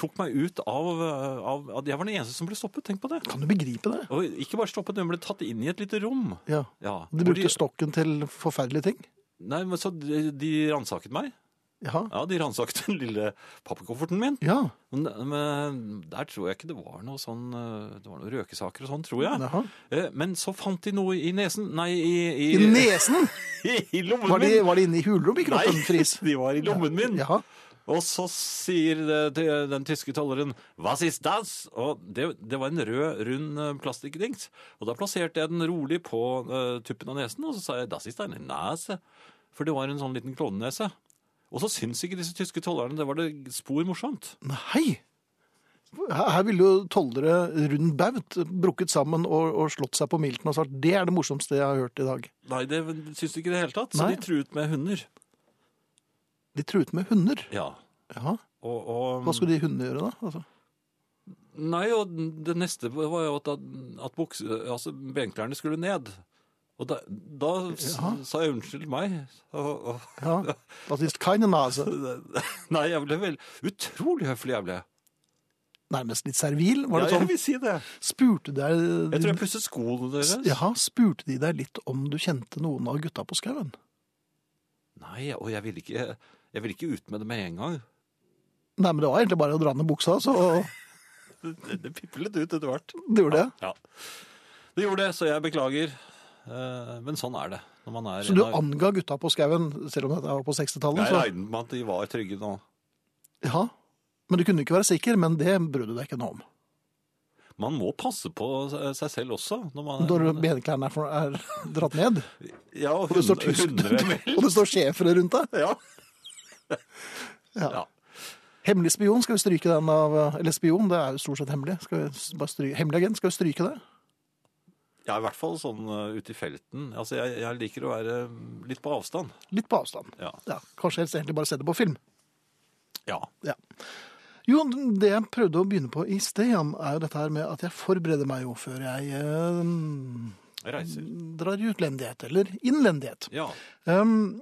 Speaker 2: tok meg ut av, eh, av, av Jeg var den eneste som ble stoppet, tenk på det.
Speaker 1: Kan du begripe det?
Speaker 2: Og ikke bare stoppet, men ble tatt inn i et lite rom.
Speaker 1: Ja.
Speaker 2: Ja,
Speaker 1: De
Speaker 2: hvor
Speaker 1: brukte stokken til forferdelige ting.
Speaker 2: Nei, men så de, de ransaket meg.
Speaker 1: Ja.
Speaker 2: Ja, De ransaket den lille pappkofferten min.
Speaker 1: ja.
Speaker 2: Men, men der tror jeg ikke det var noe sånn eh, Det var noen røkesaker og sånn, tror jeg.
Speaker 1: Jaha.
Speaker 2: Eh, Men så fant de noe i nesen Nei, i, i,
Speaker 1: I nesen!
Speaker 2: i lommen
Speaker 1: Var de,
Speaker 2: min!
Speaker 1: var de inne i hulrom i kroppen, Friis?
Speaker 2: de var i lommen min!
Speaker 1: Jaha.
Speaker 2: Og så sier det, det, den tyske tolleren 'Was ist das?' Og det, det var en rød, rund eh, plastikkdings. Og da plasserte jeg den rolig på eh, tuppen av nesen, og så sa jeg 'Das ist eine Nase'. For det var en sånn liten klovnenese. Og så syns ikke disse tyske tollerne det var det spor morsomt.
Speaker 1: Nei! Her her ville jo tollere rund baut brukket sammen og, og slått seg på milten og sagt det er det morsomste jeg har hørt i dag.
Speaker 2: Nei, det syns de ikke i det hele tatt. Så
Speaker 1: Nei.
Speaker 2: de truet med hunder.
Speaker 1: De truet med hunder.
Speaker 2: Ja.
Speaker 1: Ja.
Speaker 2: Og, og,
Speaker 1: Hva skulle de hundene gjøre da? Altså.
Speaker 2: Nei, og det neste var jo at, at bukse, altså, benklærne skulle ned. Og da, da s-
Speaker 1: Ja.
Speaker 2: sa jeg unnskyld meg. Og, og,
Speaker 1: Ja. Das ist keine Nase.
Speaker 2: Nei, jeg ble vel utrolig høflig jeg ble.
Speaker 1: Nærmest litt servil, var det
Speaker 2: ja, jeg
Speaker 1: sånn?
Speaker 2: vil si det.
Speaker 1: Spurte deg
Speaker 2: Jeg tror jeg pusset skoene deres.
Speaker 1: Jaha, spurte de deg litt om du kjente noen av gutta på skauen?
Speaker 2: Nei, og jeg ville ikke, jeg ville ikke ut med det med en gang.
Speaker 1: Nei, men det var egentlig bare å dra ned buksa, så
Speaker 2: Det, det piplet ut etter hvert.
Speaker 1: det gjorde det.
Speaker 2: Ja. Det gjorde det, så jeg beklager. Eh, Men sånn er det når man er
Speaker 1: Så du
Speaker 2: en av-
Speaker 1: anga gutta på skauen, selv om dette var på
Speaker 2: Jeg
Speaker 1: 60-tallet? Så...
Speaker 2: regnet med at de var trygge nå.
Speaker 1: Ja. Men du kunne ikke være sikker, men det brydde du deg ikke noe om.
Speaker 2: Man må passe på seg selv også. Når man,
Speaker 1: Når benklærne er, for- er dratt ned,
Speaker 2: Ja, og
Speaker 1: og det står
Speaker 2: hund-
Speaker 1: tysk
Speaker 2: hundre-
Speaker 1: og det står schæfere rundt deg.
Speaker 2: Ja.
Speaker 1: Ja.
Speaker 2: Ja.
Speaker 1: Hemmelig spion, skal vi stryke den av Eller spion, det er jo stort sett hemmelig. Skal vi s- bare stryke, hemmelig agent, skal vi stryke det?
Speaker 2: ja, i hvert fall sånn uh, ute i felten. Altså, jeg, jeg liker å være um, litt på avstand.
Speaker 1: Litt på avstand.
Speaker 2: Ja.
Speaker 1: Ja, Kanskje helst egentlig bare se det på film.
Speaker 2: ja.
Speaker 1: Ja. Jo, det jeg prøvde å begynne på i sted, Jan, er jo dette her med at jeg forbereder meg jo før jeg eh,
Speaker 2: Jeg reiser.
Speaker 1: drar i utlendighet, eller innlendighet.
Speaker 2: Ja.
Speaker 1: Um,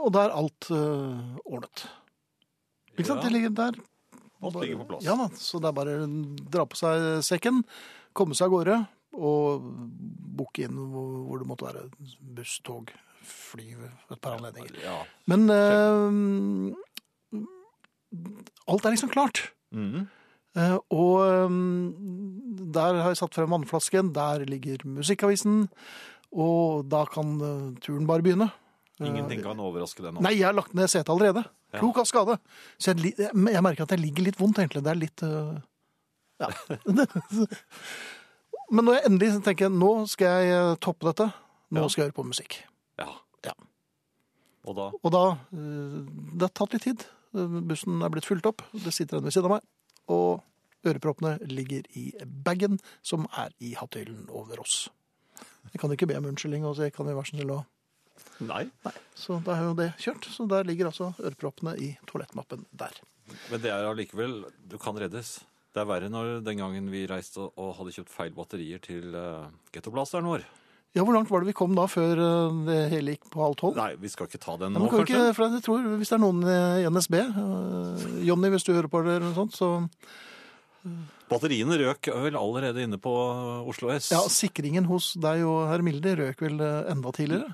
Speaker 1: og da er alt eh, ordnet. Ikke sant?
Speaker 2: Ja.
Speaker 1: Det ligger der.
Speaker 2: Alt ligger på plass.
Speaker 1: Ja da, så det er bare å dra på seg sekken, komme seg av gårde, og booke inn hvor, hvor det måtte være buss, tog, fly ved et par anledninger.
Speaker 2: Ja.
Speaker 1: Men eh, alt er liksom klart.
Speaker 2: Mhm.
Speaker 1: Eh, og eh, der har jeg satt frem vannflasken, der ligger musikkavisen, og da kan eh, turen bare begynne. Eh,
Speaker 2: Ingenting kan overraske deg nå.
Speaker 1: Nei, jeg har lagt ned setet allerede.
Speaker 2: Ja.
Speaker 1: Klok av skade. Så jeg, li- jeg, jeg merker at jeg ligger litt vondt, egentlig. Det er litt øh, Ja. Men når jeg endelig tenker nå skal jeg eh, toppe dette, nå
Speaker 2: Ja.
Speaker 1: skal jeg høre på musikk.
Speaker 2: Ja.
Speaker 1: Ja.
Speaker 2: Og da
Speaker 1: Og da eh, Det har tatt litt tid. Eh, Bussen er blitt fylt opp. Det sitter en ved siden av meg. Og øreproppene ligger i bagen som er i hatthyllen over oss. Jeg kan ikke be om unnskyldning og si kan vi være så snill å
Speaker 2: Nei.
Speaker 1: Nei, så da er jo det kjørt. Så der ligger altså øreproppene i toalettmappen der.
Speaker 2: Men det er allikevel Du kan reddes. Det er verre når den gangen vi reiste og hadde kjøpt feil batterier til uh, gettoblasteren vår.
Speaker 1: Ja, Hvor langt var det vi kom da, før eh, det hele gikk på halv tolv?
Speaker 2: Nei, vi skal ikke ta den
Speaker 1: Nei,
Speaker 2: nå,
Speaker 1: Oh. men kan vi
Speaker 2: kanskje?
Speaker 1: ikke, for jeg tror, Hvis det er noen i NSB eh, Jonny, hvis du hører på det, eller noe sånt, så
Speaker 2: Batteriene røk vel allerede inne på Oslo S.
Speaker 1: Ja, sikringen hos deg og herr Milde røk vel eh, enda tidligere?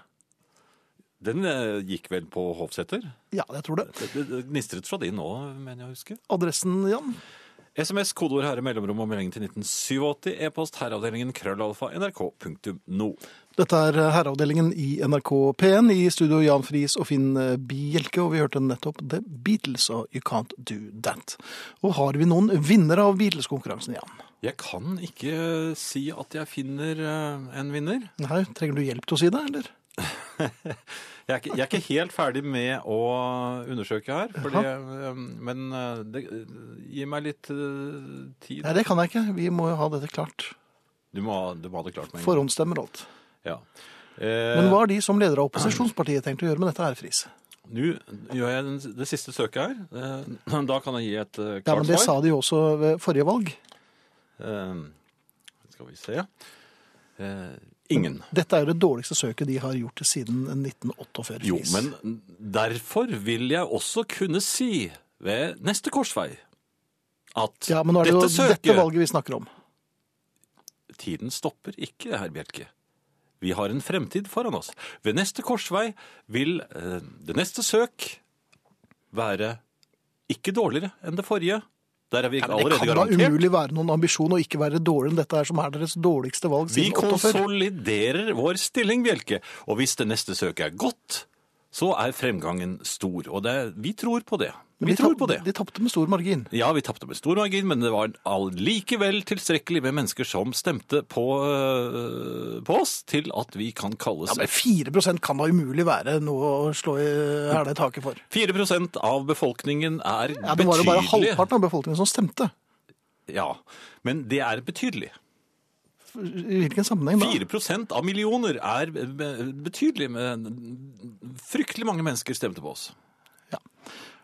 Speaker 2: Den eh, gikk vel på Hovseter?
Speaker 1: Ja, jeg tror det.
Speaker 2: Det, det, det gnistret fra din nå, mener jeg å huske.
Speaker 1: Adressen, Jan?
Speaker 2: SMS, kodeord herre, mellomrom og melding til 1987, e-post herreavdelingen krøllalfa nrk.no.
Speaker 1: Dette er eh, herreavdelingen i NRK P1, i studio Jan Friis og Finn eh, Bjelke, og vi hørte nettopp The Beatles og You Can't Do That. Og har vi noen vinnere av Beatles-konkurransen, Jan?
Speaker 2: Jeg kan ikke eh, si at jeg finner eh, en vinner.
Speaker 1: Nei, trenger du hjelp til å si det, eller?
Speaker 2: Jeg er, ikke, jeg er ikke helt ferdig med å undersøke her, fordi, eh, men eh, det, eh, gi meg litt eh, tid.
Speaker 1: Nei, det kan jeg ikke. Vi må jo ha dette klart.
Speaker 2: Du må, ha- du må ha det klart med en gang.
Speaker 1: Forhåndsstemmer og alt.
Speaker 2: Ja.
Speaker 1: Men
Speaker 2: Eh,
Speaker 1: hva har de som leder av opposisjonspartiet tenkt å gjøre med dette her, Friis?
Speaker 2: Nå gjør jeg den, det siste søket her. Eh, Da kan jeg gi et eh,
Speaker 1: Ja, men
Speaker 2: klart
Speaker 1: det sa
Speaker 2: svar.
Speaker 1: de jo også ved forrige valg.
Speaker 2: Eh, skal vi se. Eh, Ingen.
Speaker 1: Dette er jo det dårligste søket de har gjort siden 1948.
Speaker 2: Jo, men derfor vil jeg også kunne si ved neste korsvei at
Speaker 1: Ja, men nå er det jo
Speaker 2: dette søket
Speaker 1: dette valget vi snakker om.
Speaker 2: Tiden stopper ikke, herr Bjelke. Vi har en fremtid foran oss. Ved neste korsvei vil eh, det neste søk være ikke dårligere enn det forrige. Der er vi
Speaker 1: Det
Speaker 2: allerede
Speaker 1: kan da
Speaker 2: garantert.
Speaker 1: umulig være noen ambisjon å ikke være dårligere enn dette her, som er deres dårligste valg
Speaker 2: Vi
Speaker 1: siden 48.
Speaker 2: konsoliderer vår stilling, Bjelke. Og hvis det neste søket er godt, så er fremgangen stor. Og det, vi tror på det.
Speaker 1: Men
Speaker 2: Vi
Speaker 1: de
Speaker 2: tror
Speaker 1: tap-
Speaker 2: på det.
Speaker 1: De tapte med stor margin.
Speaker 2: Ja, vi tapte med stor margin, men det var allikevel tilstrekkelig med mennesker som stemte på, øh, på oss til at vi kan kalles
Speaker 1: Ja, men 4 Altså, kan da umulig være noe å slå i hæla i taket for.
Speaker 2: 4 av befolkningen er
Speaker 1: Ja, Det var jo
Speaker 2: betydelig.
Speaker 1: bare halvparten av befolkningen som stemte.
Speaker 2: Ja, men det er betydelig.
Speaker 1: I hvilken sammenheng da?
Speaker 2: 4 av millioner er be- betydelig. men Fryktelig mange mennesker stemte på oss.
Speaker 1: Ja.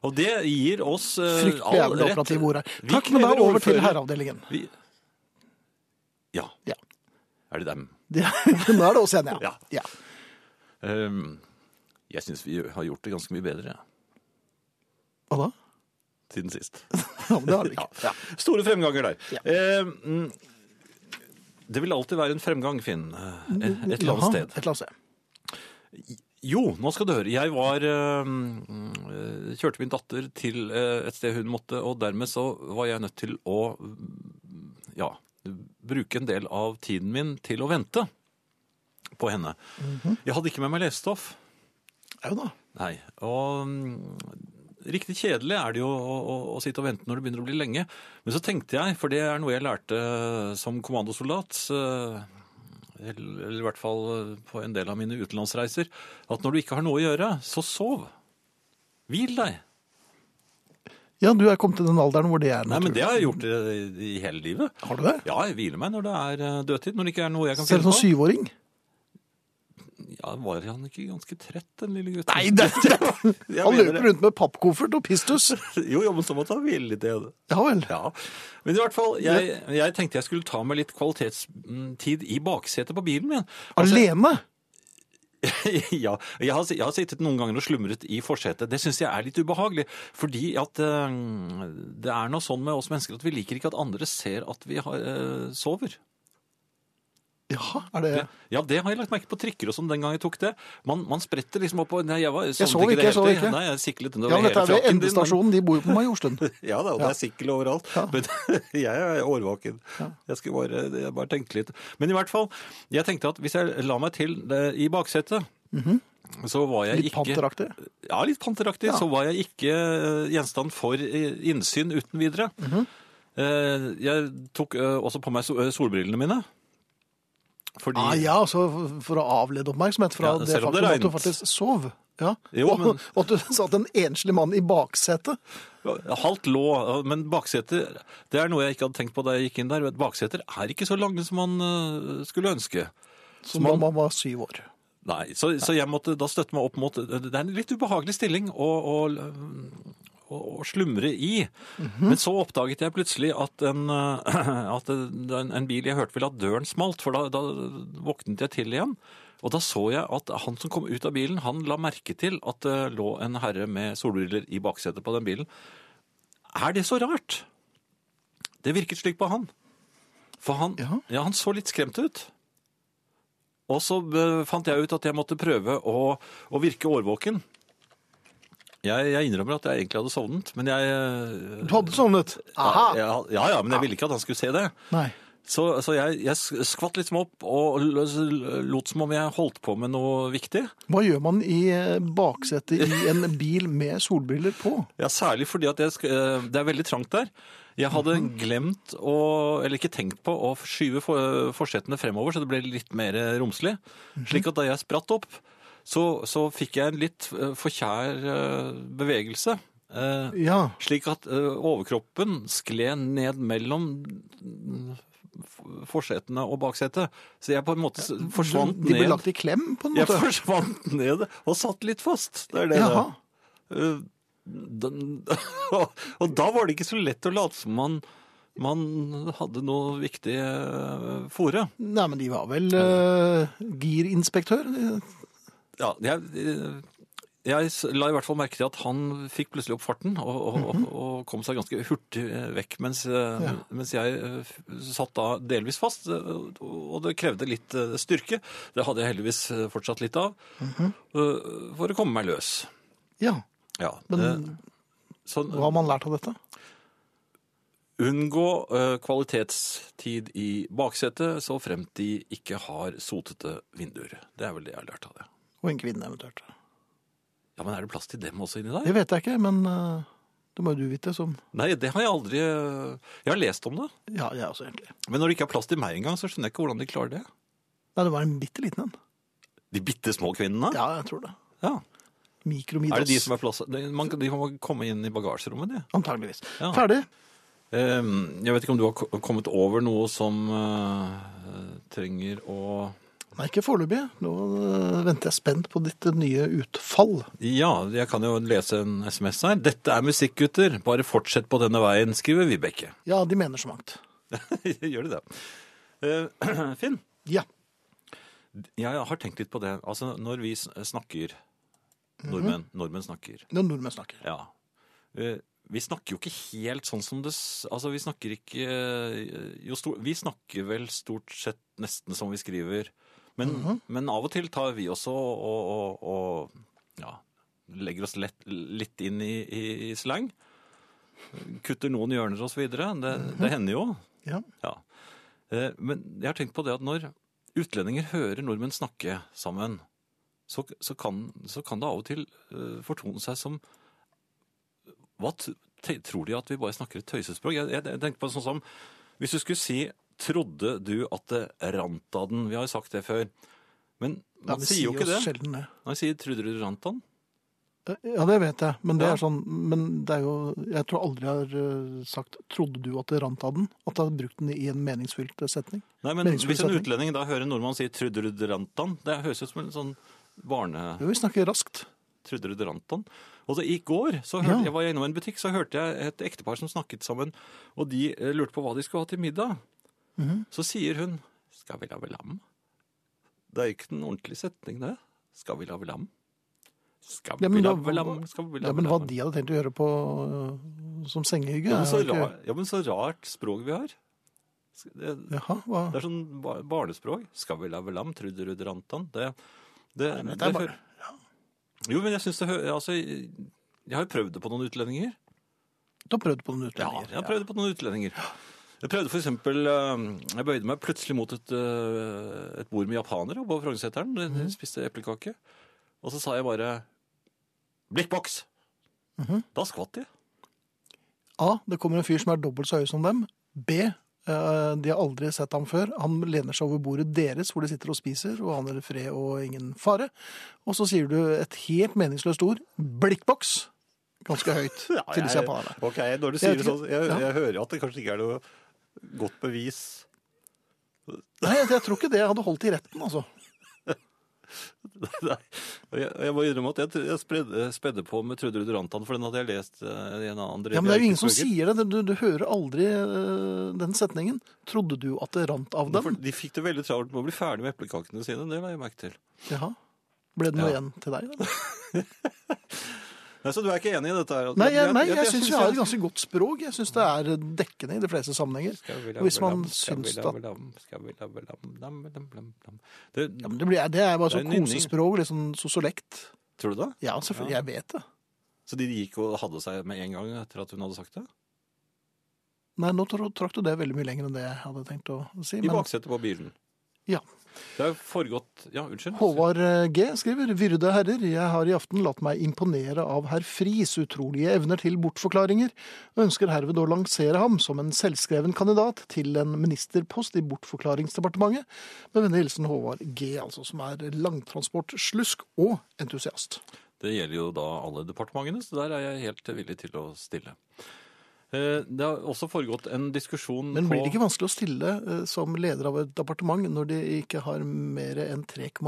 Speaker 2: Og det gir oss eh,
Speaker 1: Fryktelig
Speaker 2: all
Speaker 1: jævlig
Speaker 2: rett.
Speaker 1: operative ord her.
Speaker 2: Vi
Speaker 1: Takk, men da
Speaker 2: krever
Speaker 1: over til
Speaker 2: ordfører.
Speaker 1: herreavdelingen.
Speaker 2: Vi... Ja,
Speaker 1: Ja.
Speaker 2: er det dem?
Speaker 1: Det, nå er det oss igjen, ja.
Speaker 2: Ja.
Speaker 1: ja.
Speaker 2: Ehm, jeg syns vi har gjort det ganske mye bedre ja,
Speaker 1: Hva da?
Speaker 2: siden sist.
Speaker 1: Ja, men det har vi ikke. Ja.
Speaker 2: Store fremganger der.
Speaker 1: Ja.
Speaker 2: Ehm, mm, det vil alltid være en fremgang, Finn. eh, Et eller annet
Speaker 1: Jaha,
Speaker 2: sted.
Speaker 1: Et eller annet sted.
Speaker 2: Jo, nå skal du høre. Jeg var eh, mm, eh, Kjørte min datter til eh, et sted hun måtte, og dermed så var jeg nødt til å mm, ja, bruke en del av tiden min til å vente på henne. Jeg hadde ikke med meg lesestoff.
Speaker 1: Ja, jo da.
Speaker 2: Nei. Og mm, riktig kjedelig er det jo å, å, å sitte og vente når det begynner å bli lenge. Men så tenkte jeg, for det er noe jeg lærte eh, som kommandosoldat eh, eller eller i hvert fall eh, på en del av mine utenlandsreiser, at når du ikke har noe å gjøre, så sov. Hvil deg.
Speaker 1: Ja, du er kommet til den alderen hvor det er
Speaker 2: Nei, men
Speaker 1: naturlig.
Speaker 2: det har jeg gjort eh, i hele livet.
Speaker 1: Har du det?
Speaker 2: Ja, jeg hviler meg når det er eh, dødtid, når det ikke er noe jeg kan
Speaker 1: Selv
Speaker 2: finne
Speaker 1: som
Speaker 2: på.
Speaker 1: syvåring?
Speaker 2: Ja, var han ikke ganske trett, den lille gutten?
Speaker 1: Nei, det, det.
Speaker 2: Jeg
Speaker 1: han
Speaker 2: mener
Speaker 1: løper
Speaker 2: det.
Speaker 1: rundt med pappkoffert og pistus.
Speaker 2: Jo, jo, men så måtte han hvile litt. jeg.
Speaker 1: Ja vel.
Speaker 2: Ja, men i hvert fall, jeg, jeg tenkte jeg skulle ta meg litt kvalitetstid i baksetet på bilen min. Altså,
Speaker 1: Alene?
Speaker 2: ja, jeg har, jeg har sittet noen ganger og slumret i forsetet. Det syns jeg er litt ubehagelig. Fordi at eh, det er noe sånn med oss mennesker at vi liker ikke at andre ser at vi har, eh, sover.
Speaker 1: Ja, er det
Speaker 2: Ja, det har jeg lagt merke på trikker og sånn den gang jeg tok det. Man, man spretter liksom opp og Nei, jeg, var,
Speaker 1: sov
Speaker 2: sovnet
Speaker 1: ikke, jeg
Speaker 2: det hele
Speaker 1: sov
Speaker 2: tiden.
Speaker 1: ikke.
Speaker 2: Nei, jeg siklet
Speaker 1: Ja,
Speaker 2: under
Speaker 1: men dette er ved
Speaker 2: hele frakken din, men-
Speaker 1: endestasjonen. De bor jo på Majorstuen.
Speaker 2: Ja da, og det er sikkel overalt. Men jeg er årvåken. Jeg, skulle bare, jeg bare tenkte litt. Men i hvert fall, jeg tenkte at hvis jeg la meg til det i baksetet, så var jeg
Speaker 1: Mhm. Litt
Speaker 2: ikke
Speaker 1: panteraktig.
Speaker 2: Ja, litt panteraktig.
Speaker 1: Ja.
Speaker 2: Så var jeg ikke eh, gjenstand for eh, innsyn uten videre.
Speaker 1: Mhm.
Speaker 2: Eh, Jeg tok eh, også på meg so- eh, solbrillene mine. Fordi
Speaker 1: Ah, ja, altså for å avlede oppmerksomhet fra
Speaker 2: Ja,
Speaker 1: det
Speaker 2: selv om det
Speaker 1: faktum at du
Speaker 2: regnet.
Speaker 1: faktisk sov. Ja.
Speaker 2: Jo,
Speaker 1: og,
Speaker 2: men-
Speaker 1: og at du satt en enslig mann i baksetet.
Speaker 2: Halvt lå, men bakseter Det er noe jeg ikke hadde tenkt på da jeg gikk inn der. Bakseter er ikke så lange som man øh, skulle ønske.
Speaker 1: Som da man var syv år.
Speaker 2: Nei, så, så jeg måtte da støtte meg opp mot Det er en litt ubehagelig stilling å, å, å, å slumre i. Men så oppdaget jeg plutselig at en, øh, at en, en bil jeg hørte ville at døren smalt, for da, da våknet jeg til igjen. Og da så jeg at han som kom ut av bilen, han la merke til at det lå en herre med solbriller i baksetet på den bilen. Er det så rart? Det virket slik på han. For han, ja.
Speaker 1: Ja.
Speaker 2: han så litt skremt ut. Og så eh, fant jeg ut at jeg måtte prøve å, å virke årvåken. Jeg, jeg innrømmer at jeg egentlig hadde sovnet, men jeg eh,
Speaker 1: Du hadde sovnet. Aha!
Speaker 2: Ja, ja, ja, men jeg ville ikke at han skulle se det.
Speaker 1: Nei.
Speaker 2: Så, så jeg, jeg skvatt litt som opp og l- l- lot som om jeg holdt på med noe viktig.
Speaker 1: Hva gjør man i eh, baksetet i en bil med solbriller på?
Speaker 2: Ja, særlig fordi at jeg, sk- eh, det er veldig trangt der. Jeg hadde
Speaker 1: Mhm.
Speaker 2: glemt å, eller ikke tenkt på å skyve for- forsetene fremover, så det ble litt mer eh, romslig.
Speaker 1: Mhm.
Speaker 2: Slik at da jeg spratt opp, så, så fikk jeg en litt eh, for kjær eh, bevegelse. eh,
Speaker 1: Ja.
Speaker 2: Slik at eh, overkroppen skled ned mellom mm, f- forsetene og baksetet. Så jeg på en måte s- forsvant
Speaker 1: De ble
Speaker 2: ned.
Speaker 1: lagt i klem, på en
Speaker 2: Jeg
Speaker 1: måte.
Speaker 2: forsvant ned og satt litt fast. Det er det.
Speaker 1: Jaha.
Speaker 2: Eh, den, og da var det ikke så lett å late som man man hadde noe viktig eh, fore.
Speaker 1: Nei, men de var vel eh, girinspektør?
Speaker 2: Ja, jeg, eh, jeg s- la i hvert fall merke til at han fikk plutselig opp farten og, og,
Speaker 1: Mhm.
Speaker 2: og, og kom seg ganske hurtig eh, vekk, mens, eh, mens jeg eh, f- satt da delvis fast, eh, og det krevde litt eh, styrke. Det hadde jeg heldigvis eh, fortsatt litt av,
Speaker 1: Mhm.
Speaker 2: eh, for å komme meg løs.
Speaker 1: Ja.
Speaker 2: Ja,
Speaker 1: Men
Speaker 2: eh, sånn,
Speaker 1: hva har man lært av dette?
Speaker 2: Unngå eh, kvalitetstid i baksetet så fremt de ikke har sotete vinduer. Det er vel det jeg har lært av det.
Speaker 1: Og en kvinne, eventuelt.
Speaker 2: Ja, Men er det plass til dem også inni der?
Speaker 1: Det vet jeg ikke, men eh, det må jo du vite som
Speaker 2: Nei, det har jeg aldri eh, Jeg har lest om det.
Speaker 1: Ja, jeg også, egentlig.
Speaker 2: Men når det ikke er plass til meg engang, så skjønner jeg ikke hvordan de klarer det.
Speaker 1: Nei, det var en bitte liten en.
Speaker 2: De bitte små kvinnene?
Speaker 1: Ja, jeg tror det.
Speaker 2: Ja.
Speaker 1: Mikromidas.
Speaker 2: Er det de som er plass de- man, De må komme inn i bagasjerommet, de.
Speaker 1: Antageligvis.
Speaker 2: Ja.
Speaker 1: Ferdig.
Speaker 2: Ehm, Jeg vet ikke om du har ko- kommet over noe som eh, trenger å
Speaker 1: Nei, ikke foreløpig. Nå øh, venter jeg spent på ditt øh, nye utfall.
Speaker 2: Ja, jeg kan jo lese en SMS her. Dette er musikk, gutter. Bare fortsett på denne veien, skriver Vibeke.
Speaker 1: Ja, de mener så mangt.
Speaker 2: Gjør de det? Eh, Finn,
Speaker 1: Ja.
Speaker 2: jeg har tenkt litt på det. Altså, når vi sn- snakker Nordmenn, nordmenn snakker.
Speaker 1: Når nordmenn snakker.
Speaker 2: Ja. Eh, Vi snakker jo ikke helt sånn som det s- Altså, vi snakker ikke eh, jo stor, Vi snakker vel stort sett nesten som vi skriver. Men, men av og til tar vi også og, og, og ja, legger oss lett, litt inn i, i, i slang. Kutter noen hjørner og så videre. Det, det hender jo.
Speaker 1: Ja.
Speaker 2: Ja. Eh, Men jeg har tenkt på det at når utlendinger hører nordmenn snakke sammen, så, så, kan, så kan det av og til eh, fortone seg som Hva t- te- tror de at vi bare snakker et tøysespråk? Jeg, jeg, jeg tenkte på det sånn som Hvis du skulle si 'Trodde du at det rant av den?' Vi har jo sagt det før. Men man
Speaker 1: vi
Speaker 2: sier jo ikke det.
Speaker 1: oss Sjelden det.
Speaker 2: Man sier 'Trodde du det rant av den?'
Speaker 1: Ja, det vet jeg, men det
Speaker 2: Ja.
Speaker 1: er sånn Men det er jo Jeg tror aldri jeg har øh, sagt 'trodde du at det rant av den'? At jeg har brukt den i en meningsfylt øh, setning?
Speaker 2: Nei, men
Speaker 1: Meningsfull
Speaker 2: hvis en
Speaker 1: setning.
Speaker 2: utlending da hører en nordmann si 'Trodde du det rant av den?' Det høres ut som en sånn barne...
Speaker 1: Jo, vi snakker raskt.
Speaker 2: Trude Ruderanton. Og så I går så hørte, jeg var jeg innom en butikk, så hørte jeg et ektepar som snakket sammen. Og de eh, lurte på hva de skulle ha til middag. Så sier hun 'Skal vi lage lam?' Det er ikke en ordentlig setning, det. 'Skal vi lage lam?' 'Skal vi
Speaker 1: Ja, men da-
Speaker 2: lage lam?' Skal vi
Speaker 1: Ja,
Speaker 2: lave
Speaker 1: men hva
Speaker 2: lam?
Speaker 1: de hadde tenkt å gjøre på øh, som sengehygge?
Speaker 2: ja, men så
Speaker 1: er jo ikke-
Speaker 2: rar, ja, men så rart språk vi har. Det,
Speaker 1: Jaha, hva?
Speaker 2: det er sånn ba- barnespråk. 'Skal vi lave lam?' Trude Ruderanton. Det, det,
Speaker 1: Nei, men
Speaker 2: det
Speaker 1: dette er bare-
Speaker 2: hø- Jo, men jeg syns det hø- Altså, jeg har jo prøvd det på noen utlendinger.
Speaker 1: Du har prøvd på noen
Speaker 2: Ja,
Speaker 1: utlendinger?
Speaker 2: jeg prøvde på noen utlendinger. Jeg prøvde for eksempel, eh, jeg bøyde meg plutselig mot et, eh, et bord med japanere på Frognerseteren. De de spiste eplekake. Og så sa jeg bare 'blikkboks'. Da skvatt de.
Speaker 1: A. Det kommer en fyr som er dobbelt så høy som dem. B. eh, De har aldri sett ham før. Han lener seg over bordet deres, hvor de sitter og spiser, og aner fred og ingen fare. Og så sier du et helt meningsløst ord, blikkboks, ganske høyt til disse japanerne.
Speaker 2: Ok, når du
Speaker 1: sier det sånn, jeg- jeg
Speaker 2: hører at det kanskje ikke er noe godt bevis.
Speaker 1: Nei, jeg, jeg tror ikke det hadde holdt i retten, altså.
Speaker 2: Nei. Og Jeg, jeg må innrømme at jeg, tr- jeg spredde, spedde på med Trude Ruderantan, for den hadde jeg lest eh, i en annen
Speaker 1: Ja, men det er jo ingen som
Speaker 2: dialektbøker.
Speaker 1: sier det. Du, du hører aldri eh, den setningen. Trodde du at det rant av
Speaker 2: For
Speaker 1: dem?
Speaker 2: De fikk det veldig travelt med å bli ferdig med eplekakene sine. Det la jeg merke til.
Speaker 1: Jaha. Ble det noe
Speaker 2: Ja.
Speaker 1: igjen til deg? eller?
Speaker 2: Nei, Så du er ikke enig i dette her?
Speaker 1: Nei, jeg, nei, jeg syns vi har et ganske godt språk. Jeg syns det er dekkende i de fleste sammenhenger. Hvis man syns at
Speaker 2: det,
Speaker 1: Ja, men det, blir, det er bare
Speaker 2: Det er
Speaker 1: sånn
Speaker 2: nynning.
Speaker 1: kosespråk, litt sånn sosolekt.
Speaker 2: Tror du det?
Speaker 1: Ja, selvfølgelig. Jeg vet det.
Speaker 2: Så de gikk og hadde seg med en gang etter at hun hadde sagt det?
Speaker 1: Nei, nå tro- trakk du det veldig mye lenger enn det jeg hadde tenkt å si.
Speaker 2: I
Speaker 1: Men
Speaker 2: baksetet på bilen.
Speaker 1: Ja.
Speaker 2: Det er foregått Ja, unnskyld.
Speaker 1: Håvard eh, G skriver Vyrde herrer, jeg har i aften latt meg imponere av herr Fris utrolige evner til bortforklaringer, og ønsker herved å lansere ham som en selvskreven kandidat til en ministerpost i Bortforklaringsdepartementet. Med vennlig hilsen Håvard G, altså, som er langtransportslusk og entusiast.
Speaker 2: Det gjelder jo da alle departementene, så der er jeg helt villig til å stille. Eh, Det har også foregått en diskusjon
Speaker 1: Men blir det
Speaker 2: på
Speaker 1: ikke vanskelig å stille eh, som leder av et departement når de ikke har mer enn 3,9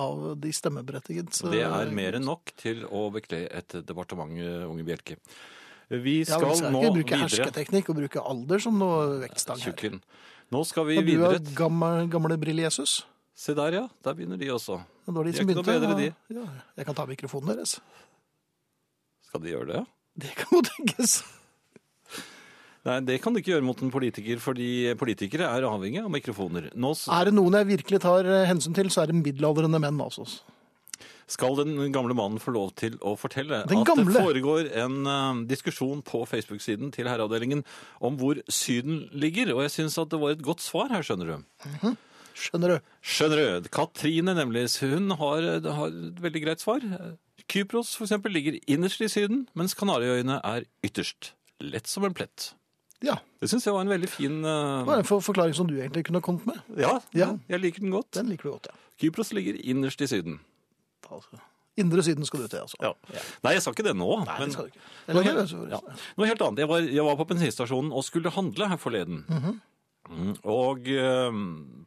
Speaker 1: av de stemmeberettigede?
Speaker 2: Det er mer enn nok til å bekle et departement, eh, unge Bjelke. Vi
Speaker 1: Ja,
Speaker 2: skal
Speaker 1: vi skal
Speaker 2: nå
Speaker 1: ikke bruke
Speaker 2: videre.
Speaker 1: hersketeknikk og bruke alder som noe vektstang her.
Speaker 2: Tjukken. Nå skal vi
Speaker 1: Og du
Speaker 2: videre.
Speaker 1: er gamle, gamle Brille-Jesus.
Speaker 2: Se der, ja. Der begynner de også.
Speaker 1: Det var de
Speaker 2: De er
Speaker 1: som
Speaker 2: ikke noe
Speaker 1: begynte.
Speaker 2: bedre, de.
Speaker 1: Ja, jeg kan ta mikrofonen deres.
Speaker 2: Skal de gjøre det?
Speaker 1: Det kan jo tenkes.
Speaker 2: Nei, det kan du ikke gjøre mot en politiker, fordi politikere er avhengig av mikrofoner. Nå s-
Speaker 1: Er det noen jeg virkelig tar eh, hensyn til, så er det middelaldrende menn. altså.
Speaker 2: skal den gamle mannen få lov til å fortelle
Speaker 1: Den
Speaker 2: at
Speaker 1: gamle?
Speaker 2: det foregår en eh, diskusjon på Facebook-siden til Herreavdelingen om hvor Syden ligger, og jeg syns at det var et godt svar her, skjønner du.
Speaker 1: Skjønner du?
Speaker 2: Skjønner du. Katrine, nemlig, hun har, har et veldig greit svar. Kypros for eksempel ligger innerst i Syden, mens Kanariøyene er ytterst. Lett som en plett.
Speaker 1: Ja.
Speaker 2: Det syns jeg var en veldig fin eh,
Speaker 1: Det var en for forklaring som du egentlig kunne kommet med.
Speaker 2: ja,
Speaker 1: Ja.
Speaker 2: jeg liker den godt.
Speaker 1: Den liker du godt, ja.
Speaker 2: Kypros ligger innerst i Syden.
Speaker 1: Ta, altså. Indre Syden skal du til, altså.
Speaker 2: Nei, jeg sa ikke det nå.
Speaker 1: Nei,
Speaker 2: men
Speaker 1: det skal du ikke. Eller,
Speaker 2: Noe
Speaker 1: det,
Speaker 2: helt- ja. Noe helt annet. Jeg var, jeg var på bensinstasjonen og skulle handle her forleden.
Speaker 1: Mhm.
Speaker 2: Mm, og eh,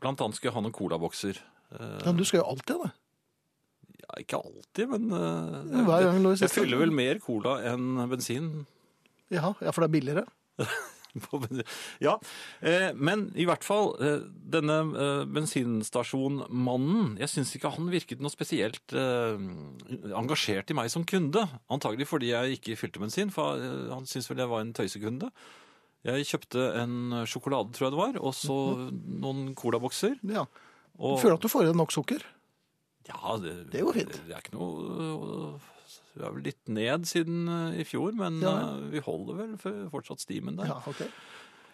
Speaker 2: blant annet skulle jeg ha noen colabokser. Eh,
Speaker 1: Men du skal jo alltid det.
Speaker 2: ja, ikke alltid, men eh,
Speaker 1: Hver gang Louis
Speaker 2: jeg, jeg
Speaker 1: sitter-
Speaker 2: fyller vel mer cola enn bensin.
Speaker 1: Ja, ja, for det er billigere.
Speaker 2: på bensin. Ja, eh, men i hvert fall, eh, denne eh, bensinstasjonmannen, jeg syns ikke han virket noe spesielt eh, engasjert i meg som kunde. Antagelig fordi jeg ikke fylte bensin, for eh, han syntes vel jeg var en tøysekunde. Jeg kjøpte en sjokolade, tror jeg det var, og så noen colabokser.
Speaker 1: Ja. Du
Speaker 2: Og,
Speaker 1: Mhm. føler at du får i deg nok sukker.
Speaker 2: ja, det,
Speaker 1: Det er jo fint.
Speaker 2: Det er ikke noe øh, Det er vel litt ned siden eh, i fjor, men
Speaker 1: Ja.
Speaker 2: eh, vi holder vel f- fortsatt stimen der.
Speaker 1: Ja, ok.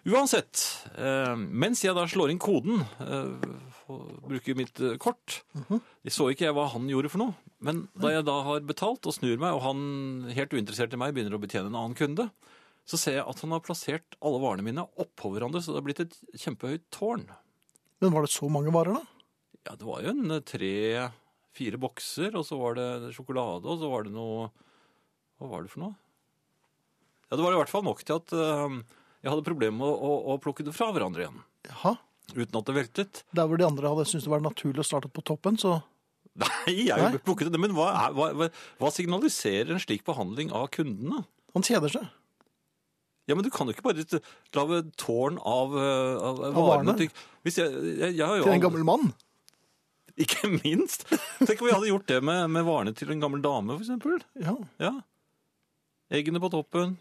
Speaker 2: Uansett, eh, mens jeg da slår inn koden, eh, og bruker mitt eh, kort, så ikke jeg hva han gjorde for noe. Men da jeg da har betalt og snur meg, og han helt uinteressert i meg begynner å betjene en annen kunde, så ser jeg at han har plassert alle varene mine oppå hverandre, så det har blitt et kjempehøyt tårn.
Speaker 1: Men var det så mange varer, da?
Speaker 2: Ja, det var jo en eh, tre, fire bokser, og så var det sjokolade, og så var det noe Hva var det for noe? Ja, det var i hvert fall nok til at eh, jeg hadde problemer med å, å, å plukke det fra hverandre igjen.
Speaker 1: Jaha.
Speaker 2: Uten at det veltet?
Speaker 1: Der hvor de andre hadde syntes det var naturlig å starte på toppen, så
Speaker 2: Nei, jeg
Speaker 1: Nei.
Speaker 2: plukket det. Men hva, er- hva, hva- hva signaliserer en slik behandling av kundene?
Speaker 1: han kjeder seg.
Speaker 2: Ja, men Du kan jo ikke bare lage tårn av, eh, av, av
Speaker 1: varene.
Speaker 2: varene. Tenk, Hvis jeg, jeg, jeg har jo
Speaker 1: Til en
Speaker 2: aldri-
Speaker 1: gammel mann.
Speaker 2: Ikke minst! Tenk om vi hadde gjort det med, med varene til en gammel dame, for eksempel.
Speaker 1: Ja.
Speaker 2: Ja. Eggene på toppen.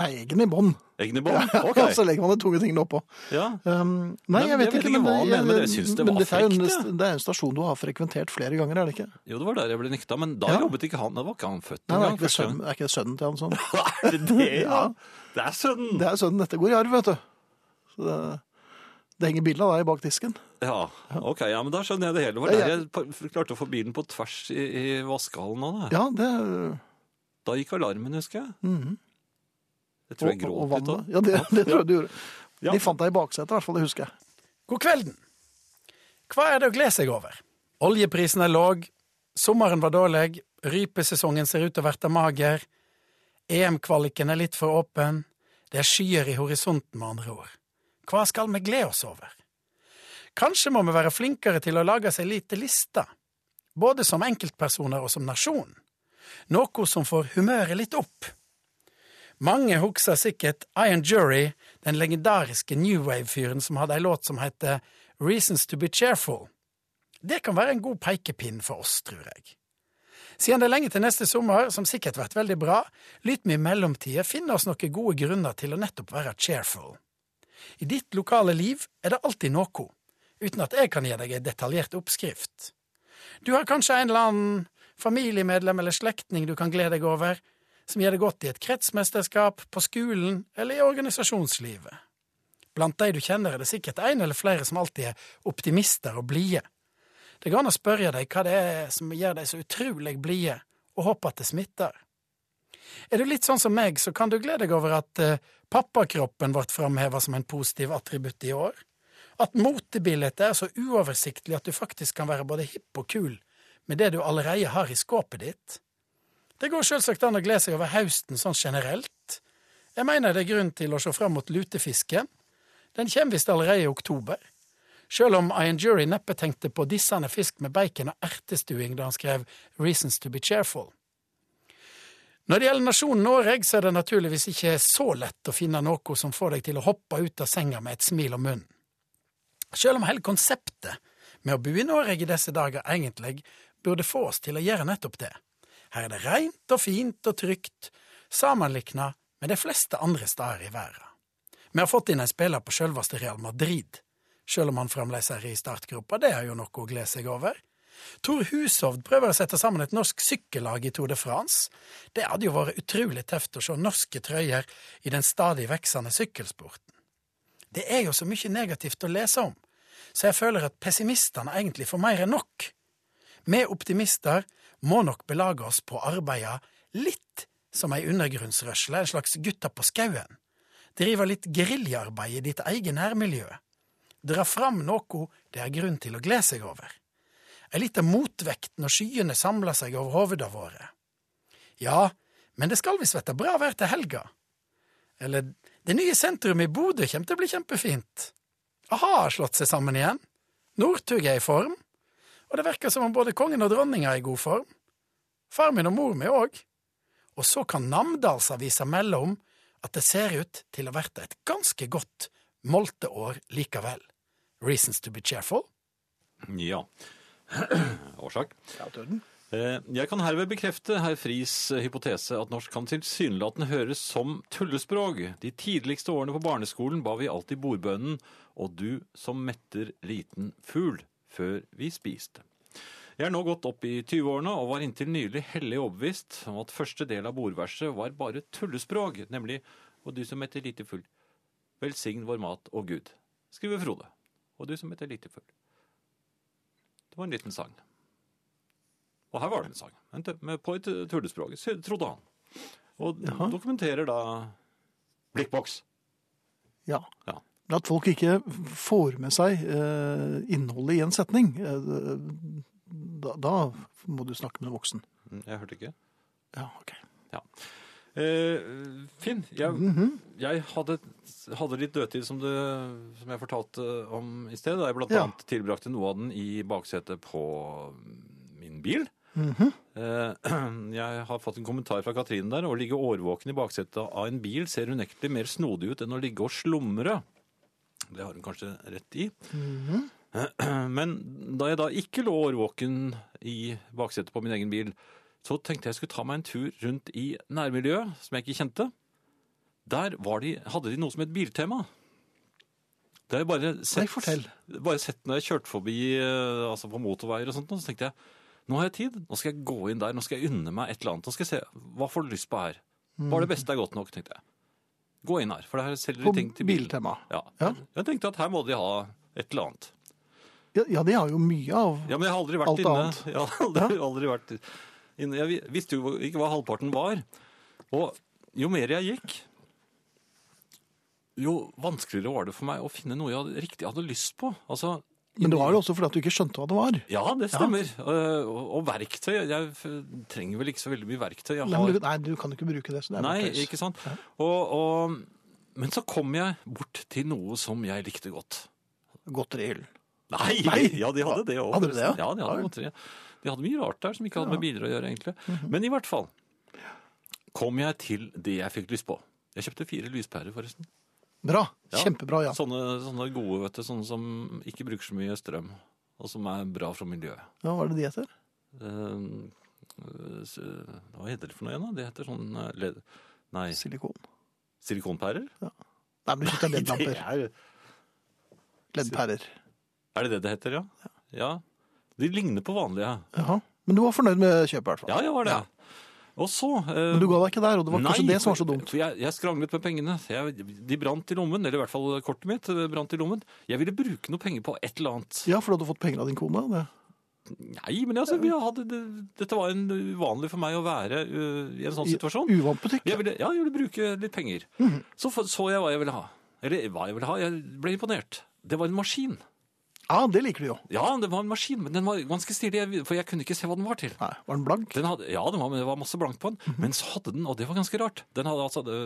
Speaker 1: Nei, egen i bånd.
Speaker 2: Eggene i bånn. Ok.
Speaker 1: så legger man de tunge tingene oppå.
Speaker 2: Ja.
Speaker 1: Um, nei, jeg
Speaker 2: Nei, men
Speaker 1: vet,
Speaker 2: jeg vet
Speaker 1: ikke,
Speaker 2: ikke hva han
Speaker 1: jeg-
Speaker 2: mener, men jeg synes det
Speaker 1: men
Speaker 2: var
Speaker 1: dette er jo
Speaker 2: frekt,
Speaker 1: en- Det er en stasjon du har frekventert flere ganger, er det ikke?
Speaker 2: Jo, det var der jeg ble nekta, men da
Speaker 1: Ja.
Speaker 2: jobbet ikke han. Da var ikke han
Speaker 1: Nei,
Speaker 2: født
Speaker 1: det er,
Speaker 2: engang.
Speaker 1: ikke
Speaker 2: første gang.
Speaker 1: sønnen, er ikke det sønnen til han sånn?
Speaker 2: Er det det, ja?
Speaker 1: Ja.
Speaker 2: Det er sønnen!
Speaker 1: Det er sønnen dette går i arv, vet du. Så det, det henger bilde av deg bak disken.
Speaker 2: Ja, ok, ja, men da skjønner jeg det hele. Det var
Speaker 1: Ja,
Speaker 2: der
Speaker 1: ja.
Speaker 2: jeg pa- klarte å få bilen på tvers i, i vaskehallen av det.
Speaker 1: Ja, det
Speaker 2: Da gikk alarmen, husker jeg.
Speaker 1: Mhm.
Speaker 2: Jeg tror jeg gråt litt da.
Speaker 1: vannet. Ja, det, det tror jeg du gjorde.
Speaker 2: Ja.
Speaker 1: De fant deg i baksetet, i hvert fall, det husker jeg.
Speaker 3: God kvelden! Hva er det å glede seg over? Oljeprisen er låg, sommeren var dårlig, rypesesongen ser ut til å verte mager, EM-kvaliken er litt for åpen, det er skyer i horisonten med andre ord. Hva skal vi glede oss over? Kanskje må vi være flinkere til å lage seg lite lister, både som enkeltpersoner og som nasjon, noe som får humøret litt opp. Mange husker sikkert Iron Jury, den legendariske New Wave-fyren som hadde ei låt som heter Reasons to be cheerful. Det kan være en god pekepinn for oss, tror jeg. Siden det er lenge til neste sommer, som sikkert blir veldig bra, lyt vi i mellomtida finne oss noen gode grunner til å nettopp være cheerful. I ditt lokale liv er det alltid noe, uten at jeg kan gi deg ei detaljert oppskrift. Du har kanskje en eller annen familiemedlem eller slektning du kan glede deg over, som gjør det godt i et kretsmesterskap, på skolen eller i organisasjonslivet. Blant de du kjenner, er det sikkert en eller flere som alltid er optimister og blide. Det går an å spørre deg hva det er som gjør deg så utrolig blide, og håpe at det smitter. Er du litt sånn som meg, så kan du glede deg over at eh, pappakroppen ble framheva som en positiv attributt i år. At motebildet er så uoversiktlig at du faktisk kan være både hipp og kul med det du allerede har i skåpet ditt. Det går selvsagt an å glede seg over høsten sånn generelt. Jeg mener det er grunn til å se fram mot lutefiske. Den kommer visst allerede i oktober. Selv om Ian Jury neppe tenkte på dissende fisk med bacon og ertestuing da han skrev Reasons to be cheerful. Når det gjelder nasjonen Norge, så er det naturligvis ikke så lett å finne noe som får deg til å hoppe ut av senga med et smil om munnen. Selv om hele konseptet med å bo i Norge i disse dager egentlig burde få oss til å gjøre nettopp det. Her er det rent og fint og trygt, sammenlikna med de fleste andre steder i verden. Vi har fått inn en spiller på selveste Real Madrid, selv om han fremdeles er i startgropa, det er jo noe å glede seg over. Tor Hushovd prøver å sette sammen et norsk sykkellag i Tour de France. Det hadde jo vært utrolig tøft å se norske trøyer i den stadig veksende sykkelsporten. Det er jo så mye negativt å lese om, så jeg føler at pessimistene egentlig får mer enn nok. Vi optimister må nok belage oss på å arbeide litt som ei undergrunnsrørsle, en slags gutta på skauen. Drive litt geriljaarbeid i ditt eget nærmiljø. Dra fram noe det er grunn til å glede seg over. Ei lita motvekt når skyene samler seg over hovuda våre. Ja, men det skal visst verte bra vær til helga. Eller, det nye sentrumet i Bodø kjem til å bli kjempefint. A-ha har slått seg sammen igjen. Northug er i form. Og det verkar som om både kongen og dronninga er i god form. Far min og mor mi òg. Og så kan Namdalsavisa melde om at det ser ut til å verte et ganske godt molteår likevel. Reasons to be cheerful?
Speaker 2: Ja. Årsak.
Speaker 1: Ja, døden.
Speaker 2: Eh, Jeg kan herved bekrefte herr Fris eh, hypotese at norsk kan tilsynelatende høres som tullespråk. De tidligste årene på barneskolen ba vi alltid bordbønnen 'Og du som metter liten fugl' før vi spiste. Jeg er nå gått opp i 20-årene og var inntil nylig hellig overbevist om at første del av bordverset var bare tullespråk, nemlig 'Og du som metter lite fugl, velsign vår mat og Gud', skriver Frode. 'Og du som metter lite fugl'. Det var en liten sang. Og her var det en sang, en tu- med- på et eh, tullespråk, sy- trodde han. Og dokumenterer da blikkboks.
Speaker 1: Ja.
Speaker 2: Ja.
Speaker 1: Men At folk ikke får med seg eh, innholdet i en setning, eh, da, da må du snakke med en voksen.
Speaker 2: Mm, Jeg hørte ikke.
Speaker 1: Ja, ok.
Speaker 2: Eh, Finn, jeg,
Speaker 1: Mhm.
Speaker 2: jeg hadde, hadde litt dødtid som, det, som jeg fortalte om i sted. Da jeg blant
Speaker 1: Ja.
Speaker 2: annet tilbrakte noe av den i baksetet på min bil. Eh, Jeg har fått en kommentar fra Katrine der. Å ligge årvåken i baksetet av en bil ser unektelig mer snodig ut enn å ligge og slumre. Det har hun kanskje rett i. Eh, Men da jeg da ikke lå årvåken i baksetet på min egen bil, så tenkte jeg skulle ta meg en tur rundt i nærmiljøet, som jeg ikke kjente. Der var de, hadde de noe som het Biltema. Det har jeg bare sett,
Speaker 1: Nei, fortell.
Speaker 2: bare sett når jeg kjørte forbi eh, altså på motorveier og sånt, nå, så tenkte jeg nå har jeg tid, nå skal jeg gå inn der, nå skal jeg unne meg et eller annet. Nå skal jeg se, Hva får du lyst på her? Bare det beste er godt nok, tenkte jeg. Gå inn her, for her selger
Speaker 1: Mm. På
Speaker 2: de ting til bilen.
Speaker 1: biltema.
Speaker 2: Ja.
Speaker 1: Ja.
Speaker 2: Jeg tenkte at her må de ha et eller annet.
Speaker 1: Ja, ja, de har jo mye av
Speaker 2: Ja, men jeg har aldri vært
Speaker 1: Alt
Speaker 2: inne.
Speaker 1: annet.
Speaker 2: Jeg har aldri, aldri vært inne. Jeg vi- visste jo ikke hva halvparten var. Og jo mer jeg gikk, jo vanskeligere var det for meg å finne noe jeg hadde, riktig hadde lyst på. Altså,
Speaker 1: Men det var jo også fordi at du ikke skjønte hva det var.
Speaker 2: Ja, det stemmer. Eh, Og, og verktøy. Jeg f- trenger vel ikke så veldig mye verktøy. Jeg
Speaker 1: Nei,
Speaker 2: har
Speaker 1: men du, nei, du kan jo ikke bruke det. Så det er
Speaker 2: Nei,
Speaker 1: bare tøys.
Speaker 2: ikke sant? Og, og, men så kom jeg bort til noe som jeg likte godt.
Speaker 1: Godteri i hyllen.
Speaker 2: Nei,
Speaker 1: Nei!
Speaker 2: Ja, de hadde det òg.
Speaker 1: Hadde de det, ja?
Speaker 2: Ja, de hadde godteri. De hadde mye rart der som ikke hadde med biler å gjøre, egentlig.
Speaker 1: Mhm.
Speaker 2: Men i hvert fall kom jeg til det jeg fikk lyst på. Jeg kjøpte fire lyspærer, forresten.
Speaker 1: Bra.
Speaker 2: Ja.
Speaker 1: Kjempebra, ja.
Speaker 2: Sånne, sånne gode, vet du. Sånne som ikke bruker så mye strøm, og som er bra for miljøet.
Speaker 1: ja. Hva er det de heter?
Speaker 2: Ehm, øh, s- øh, hva heter det for noe igjen, da? Det heter sånn eh, led... Nei,
Speaker 1: Silikon.
Speaker 2: silikonpærer?
Speaker 1: Nei, men du kjøpte
Speaker 2: Det
Speaker 1: LED-lamper.
Speaker 2: er,
Speaker 1: LED-pærer.
Speaker 2: er det det det heter, ja? Ja. De ligner på vanlige.
Speaker 1: Jaha. Men du var fornøyd med kjøpet, i hvert fall.
Speaker 2: Ja, ja, var det. Og så eh,
Speaker 1: Men du ga deg ikke der, og det var kanskje det som var så
Speaker 2: for-
Speaker 1: dumt.
Speaker 2: For jeg, jeg skranglet med pengene. Jeg, de brant i lommen, eller i hvert fall kortet mitt eh, brant i lommen. Jeg ville bruke noe penger på et eller annet.
Speaker 1: Ja, for du hadde fått penger av din kone. Det.
Speaker 2: Nei, men altså, vi hadde, det- dette var en uvanlig for meg å være eh, i en sånn situasjon.
Speaker 1: I Mhm. uvant butikk.
Speaker 2: Jeg ville, ja, jeg ville bruke litt penger. Så f- så jeg hva jeg ville ha. Eller hva jeg ville ha. Jeg ble imponert. Det var en maskin.
Speaker 1: Ja, det liker du jo.
Speaker 2: Ja, det var en maskin, men den var ganske stilig, jeg- for jeg kunne ikke se hva den var til.
Speaker 1: Nei, Var den blank?
Speaker 2: Den hadde, ja, det var, men det var masse blankt på den. Men så hadde den, og det var ganske rart. Den hadde altså, det,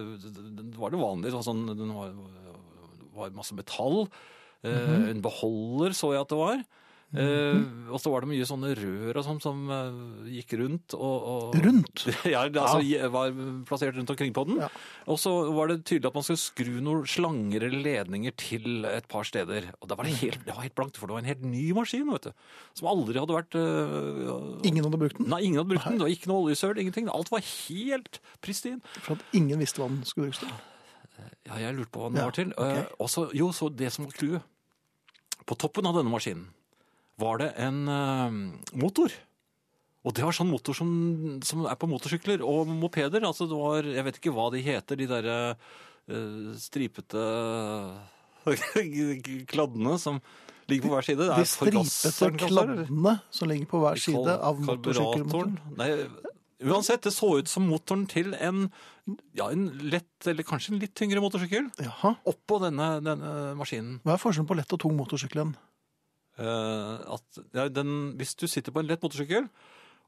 Speaker 2: den var det vanlige. det var Sånn, den
Speaker 1: Mhm.
Speaker 2: var, var masse metall. Eh, En beholder så jeg at det var. Eh, og så var det mye sånne rør og sånn som eh, gikk rundt og, og
Speaker 1: Rundt.
Speaker 2: Ja, det altså, je- var plassert rundt omkring på den.
Speaker 1: Ja.
Speaker 2: Og så var det tydelig at man skulle skru noen slanger eller ledninger til et par steder. Og da var
Speaker 1: Mhm.
Speaker 2: det helt, det var helt blankt, for det var en helt ny maskin, vet du. Som aldri hadde vært eh,
Speaker 1: Ingen hadde brukt den,
Speaker 2: Nei, ingen hadde brukt den. Det var ikke noe oljesøl, ingenting. Alt var helt pristine.
Speaker 1: for at ingen visste hva den skulle brukes til.
Speaker 2: Ja, jeg lurte på hva den
Speaker 1: Ja,
Speaker 2: var til.
Speaker 1: ok.
Speaker 2: Eh, og så- jo, så det som var clouet På toppen av denne maskinen var det en eh, motor. Og det var sånn motor som, som er på motorsykler og mopeder. Altså det var, jeg vet ikke hva de heter, de derre eh, stripete kladdene som ligger på hver side. Det er
Speaker 1: De
Speaker 2: forgasseren,
Speaker 1: stripete
Speaker 2: kaller det.
Speaker 1: kladdene som ligger på hver side av
Speaker 2: Kal-
Speaker 1: motorsykkelmotoren.
Speaker 2: karburatoren. Nei, uansett, det så ut som motoren til en, ja, en lett, eller kanskje en litt tyngre motorsykkel.
Speaker 1: Jaha.
Speaker 2: Oppå denne, denne maskinen.
Speaker 1: Hva er forskjellen på lett og tung motorsykkel igjen?
Speaker 2: Eh, at, ja, den, hvis du sitter på en lett motorsykkel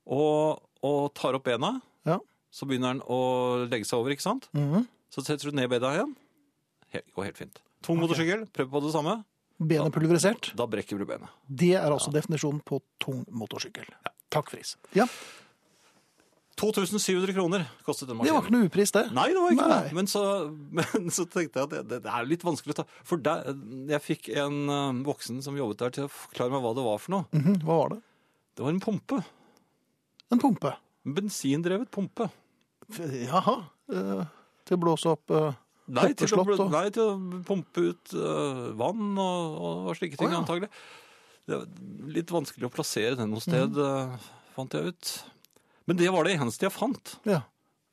Speaker 2: og, og tar opp bena,
Speaker 1: Ja.
Speaker 2: så begynner den å legge seg over, ikke sant?
Speaker 1: Mhm.
Speaker 2: Så setter du ned bena igjen. Helt, går helt fint. Tung motorsykkel, prøv på det samme.
Speaker 1: Benet pulverisert.
Speaker 2: Da brekker du benet.
Speaker 1: Det er altså definisjonen på tung motorsykkel. Takk, Friis. Ja,
Speaker 2: 2700 kroner kostet
Speaker 1: det
Speaker 2: den maskinen.
Speaker 1: var ikke noe upris, det.
Speaker 2: Nei, det var ikke
Speaker 1: Nei.
Speaker 2: det. Men så, men så tenkte jeg at det, det, det er litt vanskelig å ta. For der, jeg fikk en eh, voksen som jobbet der til å forklare meg hva det var for noe.
Speaker 1: Mhm, Hva var det?
Speaker 2: Det var en pumpe.
Speaker 1: En pumpe.
Speaker 2: En bensindrevet pumpe.
Speaker 1: F- Jaha. Eh, til å blåse opp eh,
Speaker 2: Nei til, å,
Speaker 1: Hoppeslott
Speaker 2: bl-
Speaker 1: og-
Speaker 2: nei, til å pumpe ut eh, vann og, og slike ting,
Speaker 1: Å, ja.
Speaker 2: antagelig. Det var litt vanskelig å plassere den noe sted, eh, fant jeg ut. Men det var det eneste jeg fant.
Speaker 1: Ja.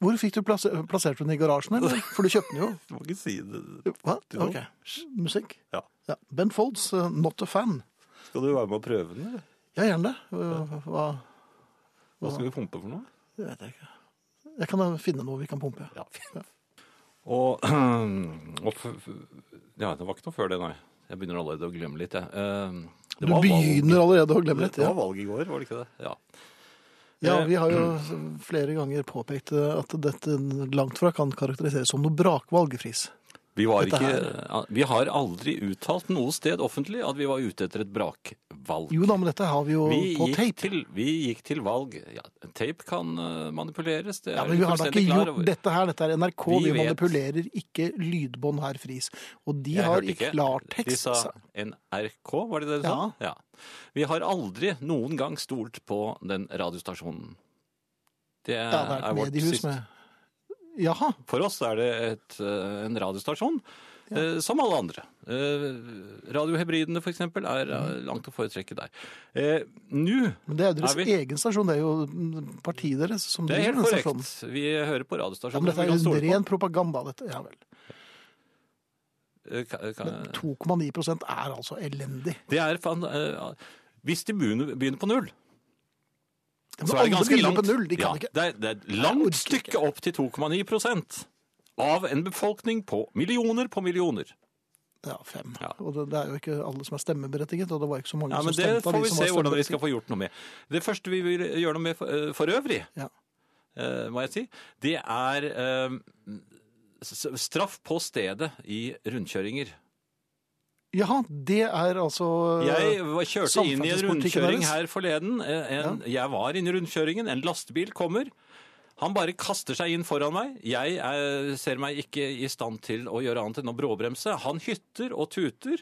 Speaker 1: Hvor fikk du plass plassert den i garasjen, eller? For du kjøpte den jo.
Speaker 2: Du må ikke si det.
Speaker 1: Hva?
Speaker 2: til noen.
Speaker 1: Ok. Musikk?
Speaker 2: Ja.
Speaker 1: ja. Ben Folds, eh, 'Not a Fan'.
Speaker 2: Skal du være med og prøve den, eller?
Speaker 1: Ja, gjerne det. Eh, Hva
Speaker 2: Hva skal vi pumpe for noe?
Speaker 1: Det vet jeg ikke. Jeg kan eh, finne noe vi kan pumpe.
Speaker 2: Ja, fint. Og, og f- f- Ja, det var ikke noe før det, nei. Jeg begynner allerede å glemme litt, jeg. Eh, det
Speaker 1: Du
Speaker 2: var valg-
Speaker 1: begynner allerede å glemme litt.
Speaker 2: Det
Speaker 1: Ja.
Speaker 2: var valg i går, var det ikke det? Ja.
Speaker 1: ja, Vi har jo flere ganger påpekt eh, at dette langt fra kan karakteriseres som noe brakvalg, Friis.
Speaker 2: Vi, var
Speaker 1: Dette
Speaker 2: ikke, vi har aldri uttalt noe sted offentlig at vi var ute etter et brakvalg.
Speaker 1: Jo da, men dette har vi jo
Speaker 2: vi
Speaker 1: på
Speaker 2: gikk,
Speaker 1: tape.
Speaker 2: til, vi gikk til valg. Ja, tape kan eh, manipuleres. Det er
Speaker 1: Ja, men Vi har da
Speaker 2: fullstendig
Speaker 1: ikke
Speaker 2: klar
Speaker 1: gjort
Speaker 2: over.
Speaker 1: dette her. Dette er NRK.
Speaker 2: Vi
Speaker 1: Vi,
Speaker 2: vet.
Speaker 1: manipulerer ikke lydbånd her, Friis. Og de
Speaker 2: Jeg
Speaker 1: har
Speaker 2: hørte
Speaker 1: i
Speaker 2: ikke. De
Speaker 1: klartekst
Speaker 2: sa NRK, var det det
Speaker 1: Ja.
Speaker 2: de sa? Ja. Vi har aldri noen gang stolt på den radiostasjonen. Det Eh, er,
Speaker 1: Ja, det er et
Speaker 2: vårt
Speaker 1: mediehus
Speaker 2: siste-
Speaker 1: med Jaha.
Speaker 2: For oss er det et, eh, en radiostasjon, eh, som alle andre. Eh, Radiohebridene for eksempel er eh, langt å foretrekke der. Eh, Nå,
Speaker 1: Men Mm. det er jo deres
Speaker 2: Er vi-
Speaker 1: egen stasjon. Det er jo mm, partiet deres som
Speaker 2: det er helt
Speaker 1: driver den stasjonen.
Speaker 2: korrekt, vi hører på
Speaker 1: sånn. Ja,
Speaker 2: radiostasjonen.
Speaker 1: men dette
Speaker 2: vi kan
Speaker 1: er
Speaker 2: stole
Speaker 1: jo
Speaker 2: på.
Speaker 1: ren propaganda, dette. Ja vel.
Speaker 2: Eh, ka- ka-
Speaker 1: 2,9 er altså elendig.
Speaker 2: Det er, fan- eh, hvis de begynner, begynner på null,
Speaker 1: Men
Speaker 2: så er det
Speaker 1: alle
Speaker 2: ganske
Speaker 1: begynner
Speaker 2: langt.
Speaker 1: på null, de kan
Speaker 2: ja,
Speaker 1: ikke.
Speaker 2: Det er, det er et
Speaker 1: Jeg
Speaker 2: langt
Speaker 1: orker ikke.
Speaker 2: stykke opp til 2,9 prosent av en befolkning på millioner på millioner.
Speaker 1: Ja, fem.
Speaker 2: Ja.
Speaker 1: Og det, det er jo ikke alle som er stemmeberettiget, og det var ikke så mange
Speaker 2: Ja, men
Speaker 1: som
Speaker 2: Det
Speaker 1: stemte
Speaker 2: får
Speaker 1: av
Speaker 2: vi
Speaker 1: de som
Speaker 2: se
Speaker 1: var
Speaker 2: hvordan vi skal
Speaker 1: stemmeberettiget.
Speaker 2: få gjort noe med. Det første vi vil gjøre noe med for, eh, for øvrig,
Speaker 1: Ja.
Speaker 2: eh, må jeg si, det er eh, s- straff på stedet i rundkjøringer.
Speaker 1: Jaha, det er altså
Speaker 2: Jeg var- kjørte inn i en
Speaker 1: samferdselspolitikken
Speaker 2: rundkjøring
Speaker 1: deres.
Speaker 2: her forleden. eh, En, Jeg var inne i rundkjøringen, en lastebil kommer. Han bare kaster seg inn foran meg. Jeg eh, ser meg ikke i stand til å gjøre annet enn å bråbremse. Han hytter og tuter.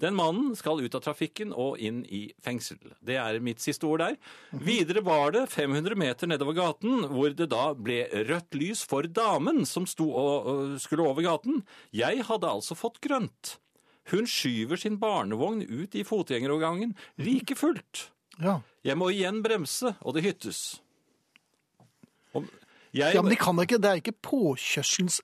Speaker 2: Den mannen skal ut av trafikken og inn i fengsel. Det er mitt siste ord der.
Speaker 1: Mhm.
Speaker 2: Videre var det 500 meter nedover gaten, hvor det da ble rødt lys for damen som sto og, og skulle over gaten. Jeg hadde altså fått grønt. Hun skyver sin barnevogn ut i fotgjengerovergangen like fullt.
Speaker 1: Ja.
Speaker 2: Jeg må igjen bremse, og det hyttes. Om- Jeg,
Speaker 1: ja, men de kan ikke, det er ikke påkjørselens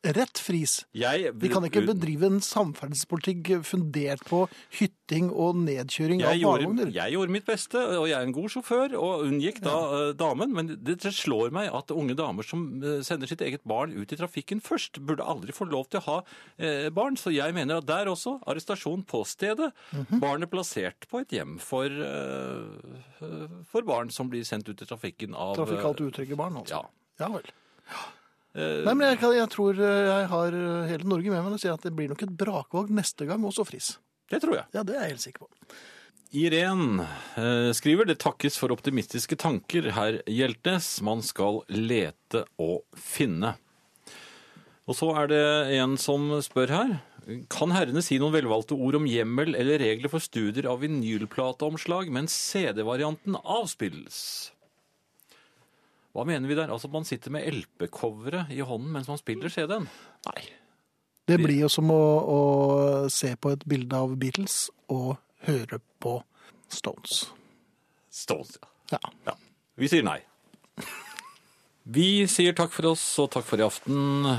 Speaker 1: fris.
Speaker 2: jeg,
Speaker 1: De kan ikke bedrive en samferdselspolitikk fundert på hytting og nedkjøring
Speaker 2: jeg
Speaker 1: av
Speaker 2: gjorde,
Speaker 1: barnevogner.
Speaker 2: jeg gjorde mitt beste, og jeg er en god sjåfør, og unngikk da eh, damen. Men det, det slår meg at unge damer som eh, sender sitt eget barn ut i trafikken først, burde aldri få lov til å ha eh, barn. Så jeg mener at der også, arrestasjon på stedet, barnet plassert på et hjem for, eh, eh, for barn som blir sendt ut i trafikken av eh,
Speaker 1: Trafikalt utrygge barn, altså.
Speaker 2: Ja. eh,
Speaker 1: Ja vel. Nei, men jeg, kan, jeg tror eh, jeg har hele Norge med meg når jeg sier at det blir nok et brakvalg neste gang også, Friis.
Speaker 2: Det tror jeg.
Speaker 1: Ja, det er jeg helt sikker på.
Speaker 2: Irén eh, skriver det takkes for optimistiske tanker, herr Hjeltnes. Man skal lete og finne. Og så er det en som spør her. Kan herrene si noen velvalgte ord om hjemmel eller regler for studier av vinylplateomslag mens CD-varianten avspilles? Hva mener vi der? Altså at man sitter med LP-coveret i hånden mens man spiller CD-en?
Speaker 1: Nei. Det blir jo som å, å se på et bilde av Beatles og høre på Stones.
Speaker 2: Stones, ja.
Speaker 1: Ja.
Speaker 2: Vi sier nei. Vi sier takk for oss og takk for i aften.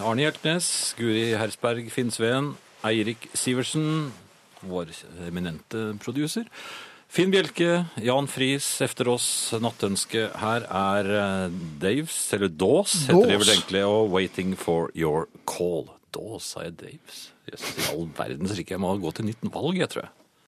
Speaker 2: Arne Hjeltnes, Guri Hersberg Finnsveen, Eirik Sivertsen, vår eminente producer. Finn Bjelke, Jan Friis, efter oss, Nattønske. Her er eh, Daves, eller Dawes heter det vel
Speaker 1: Dawes.
Speaker 2: egentlig, og Waiting for Your Call. Dawes, sa jeg Daves. Jøss, I all verdens rike, jeg må gå til nytt valg, jeg tror jeg.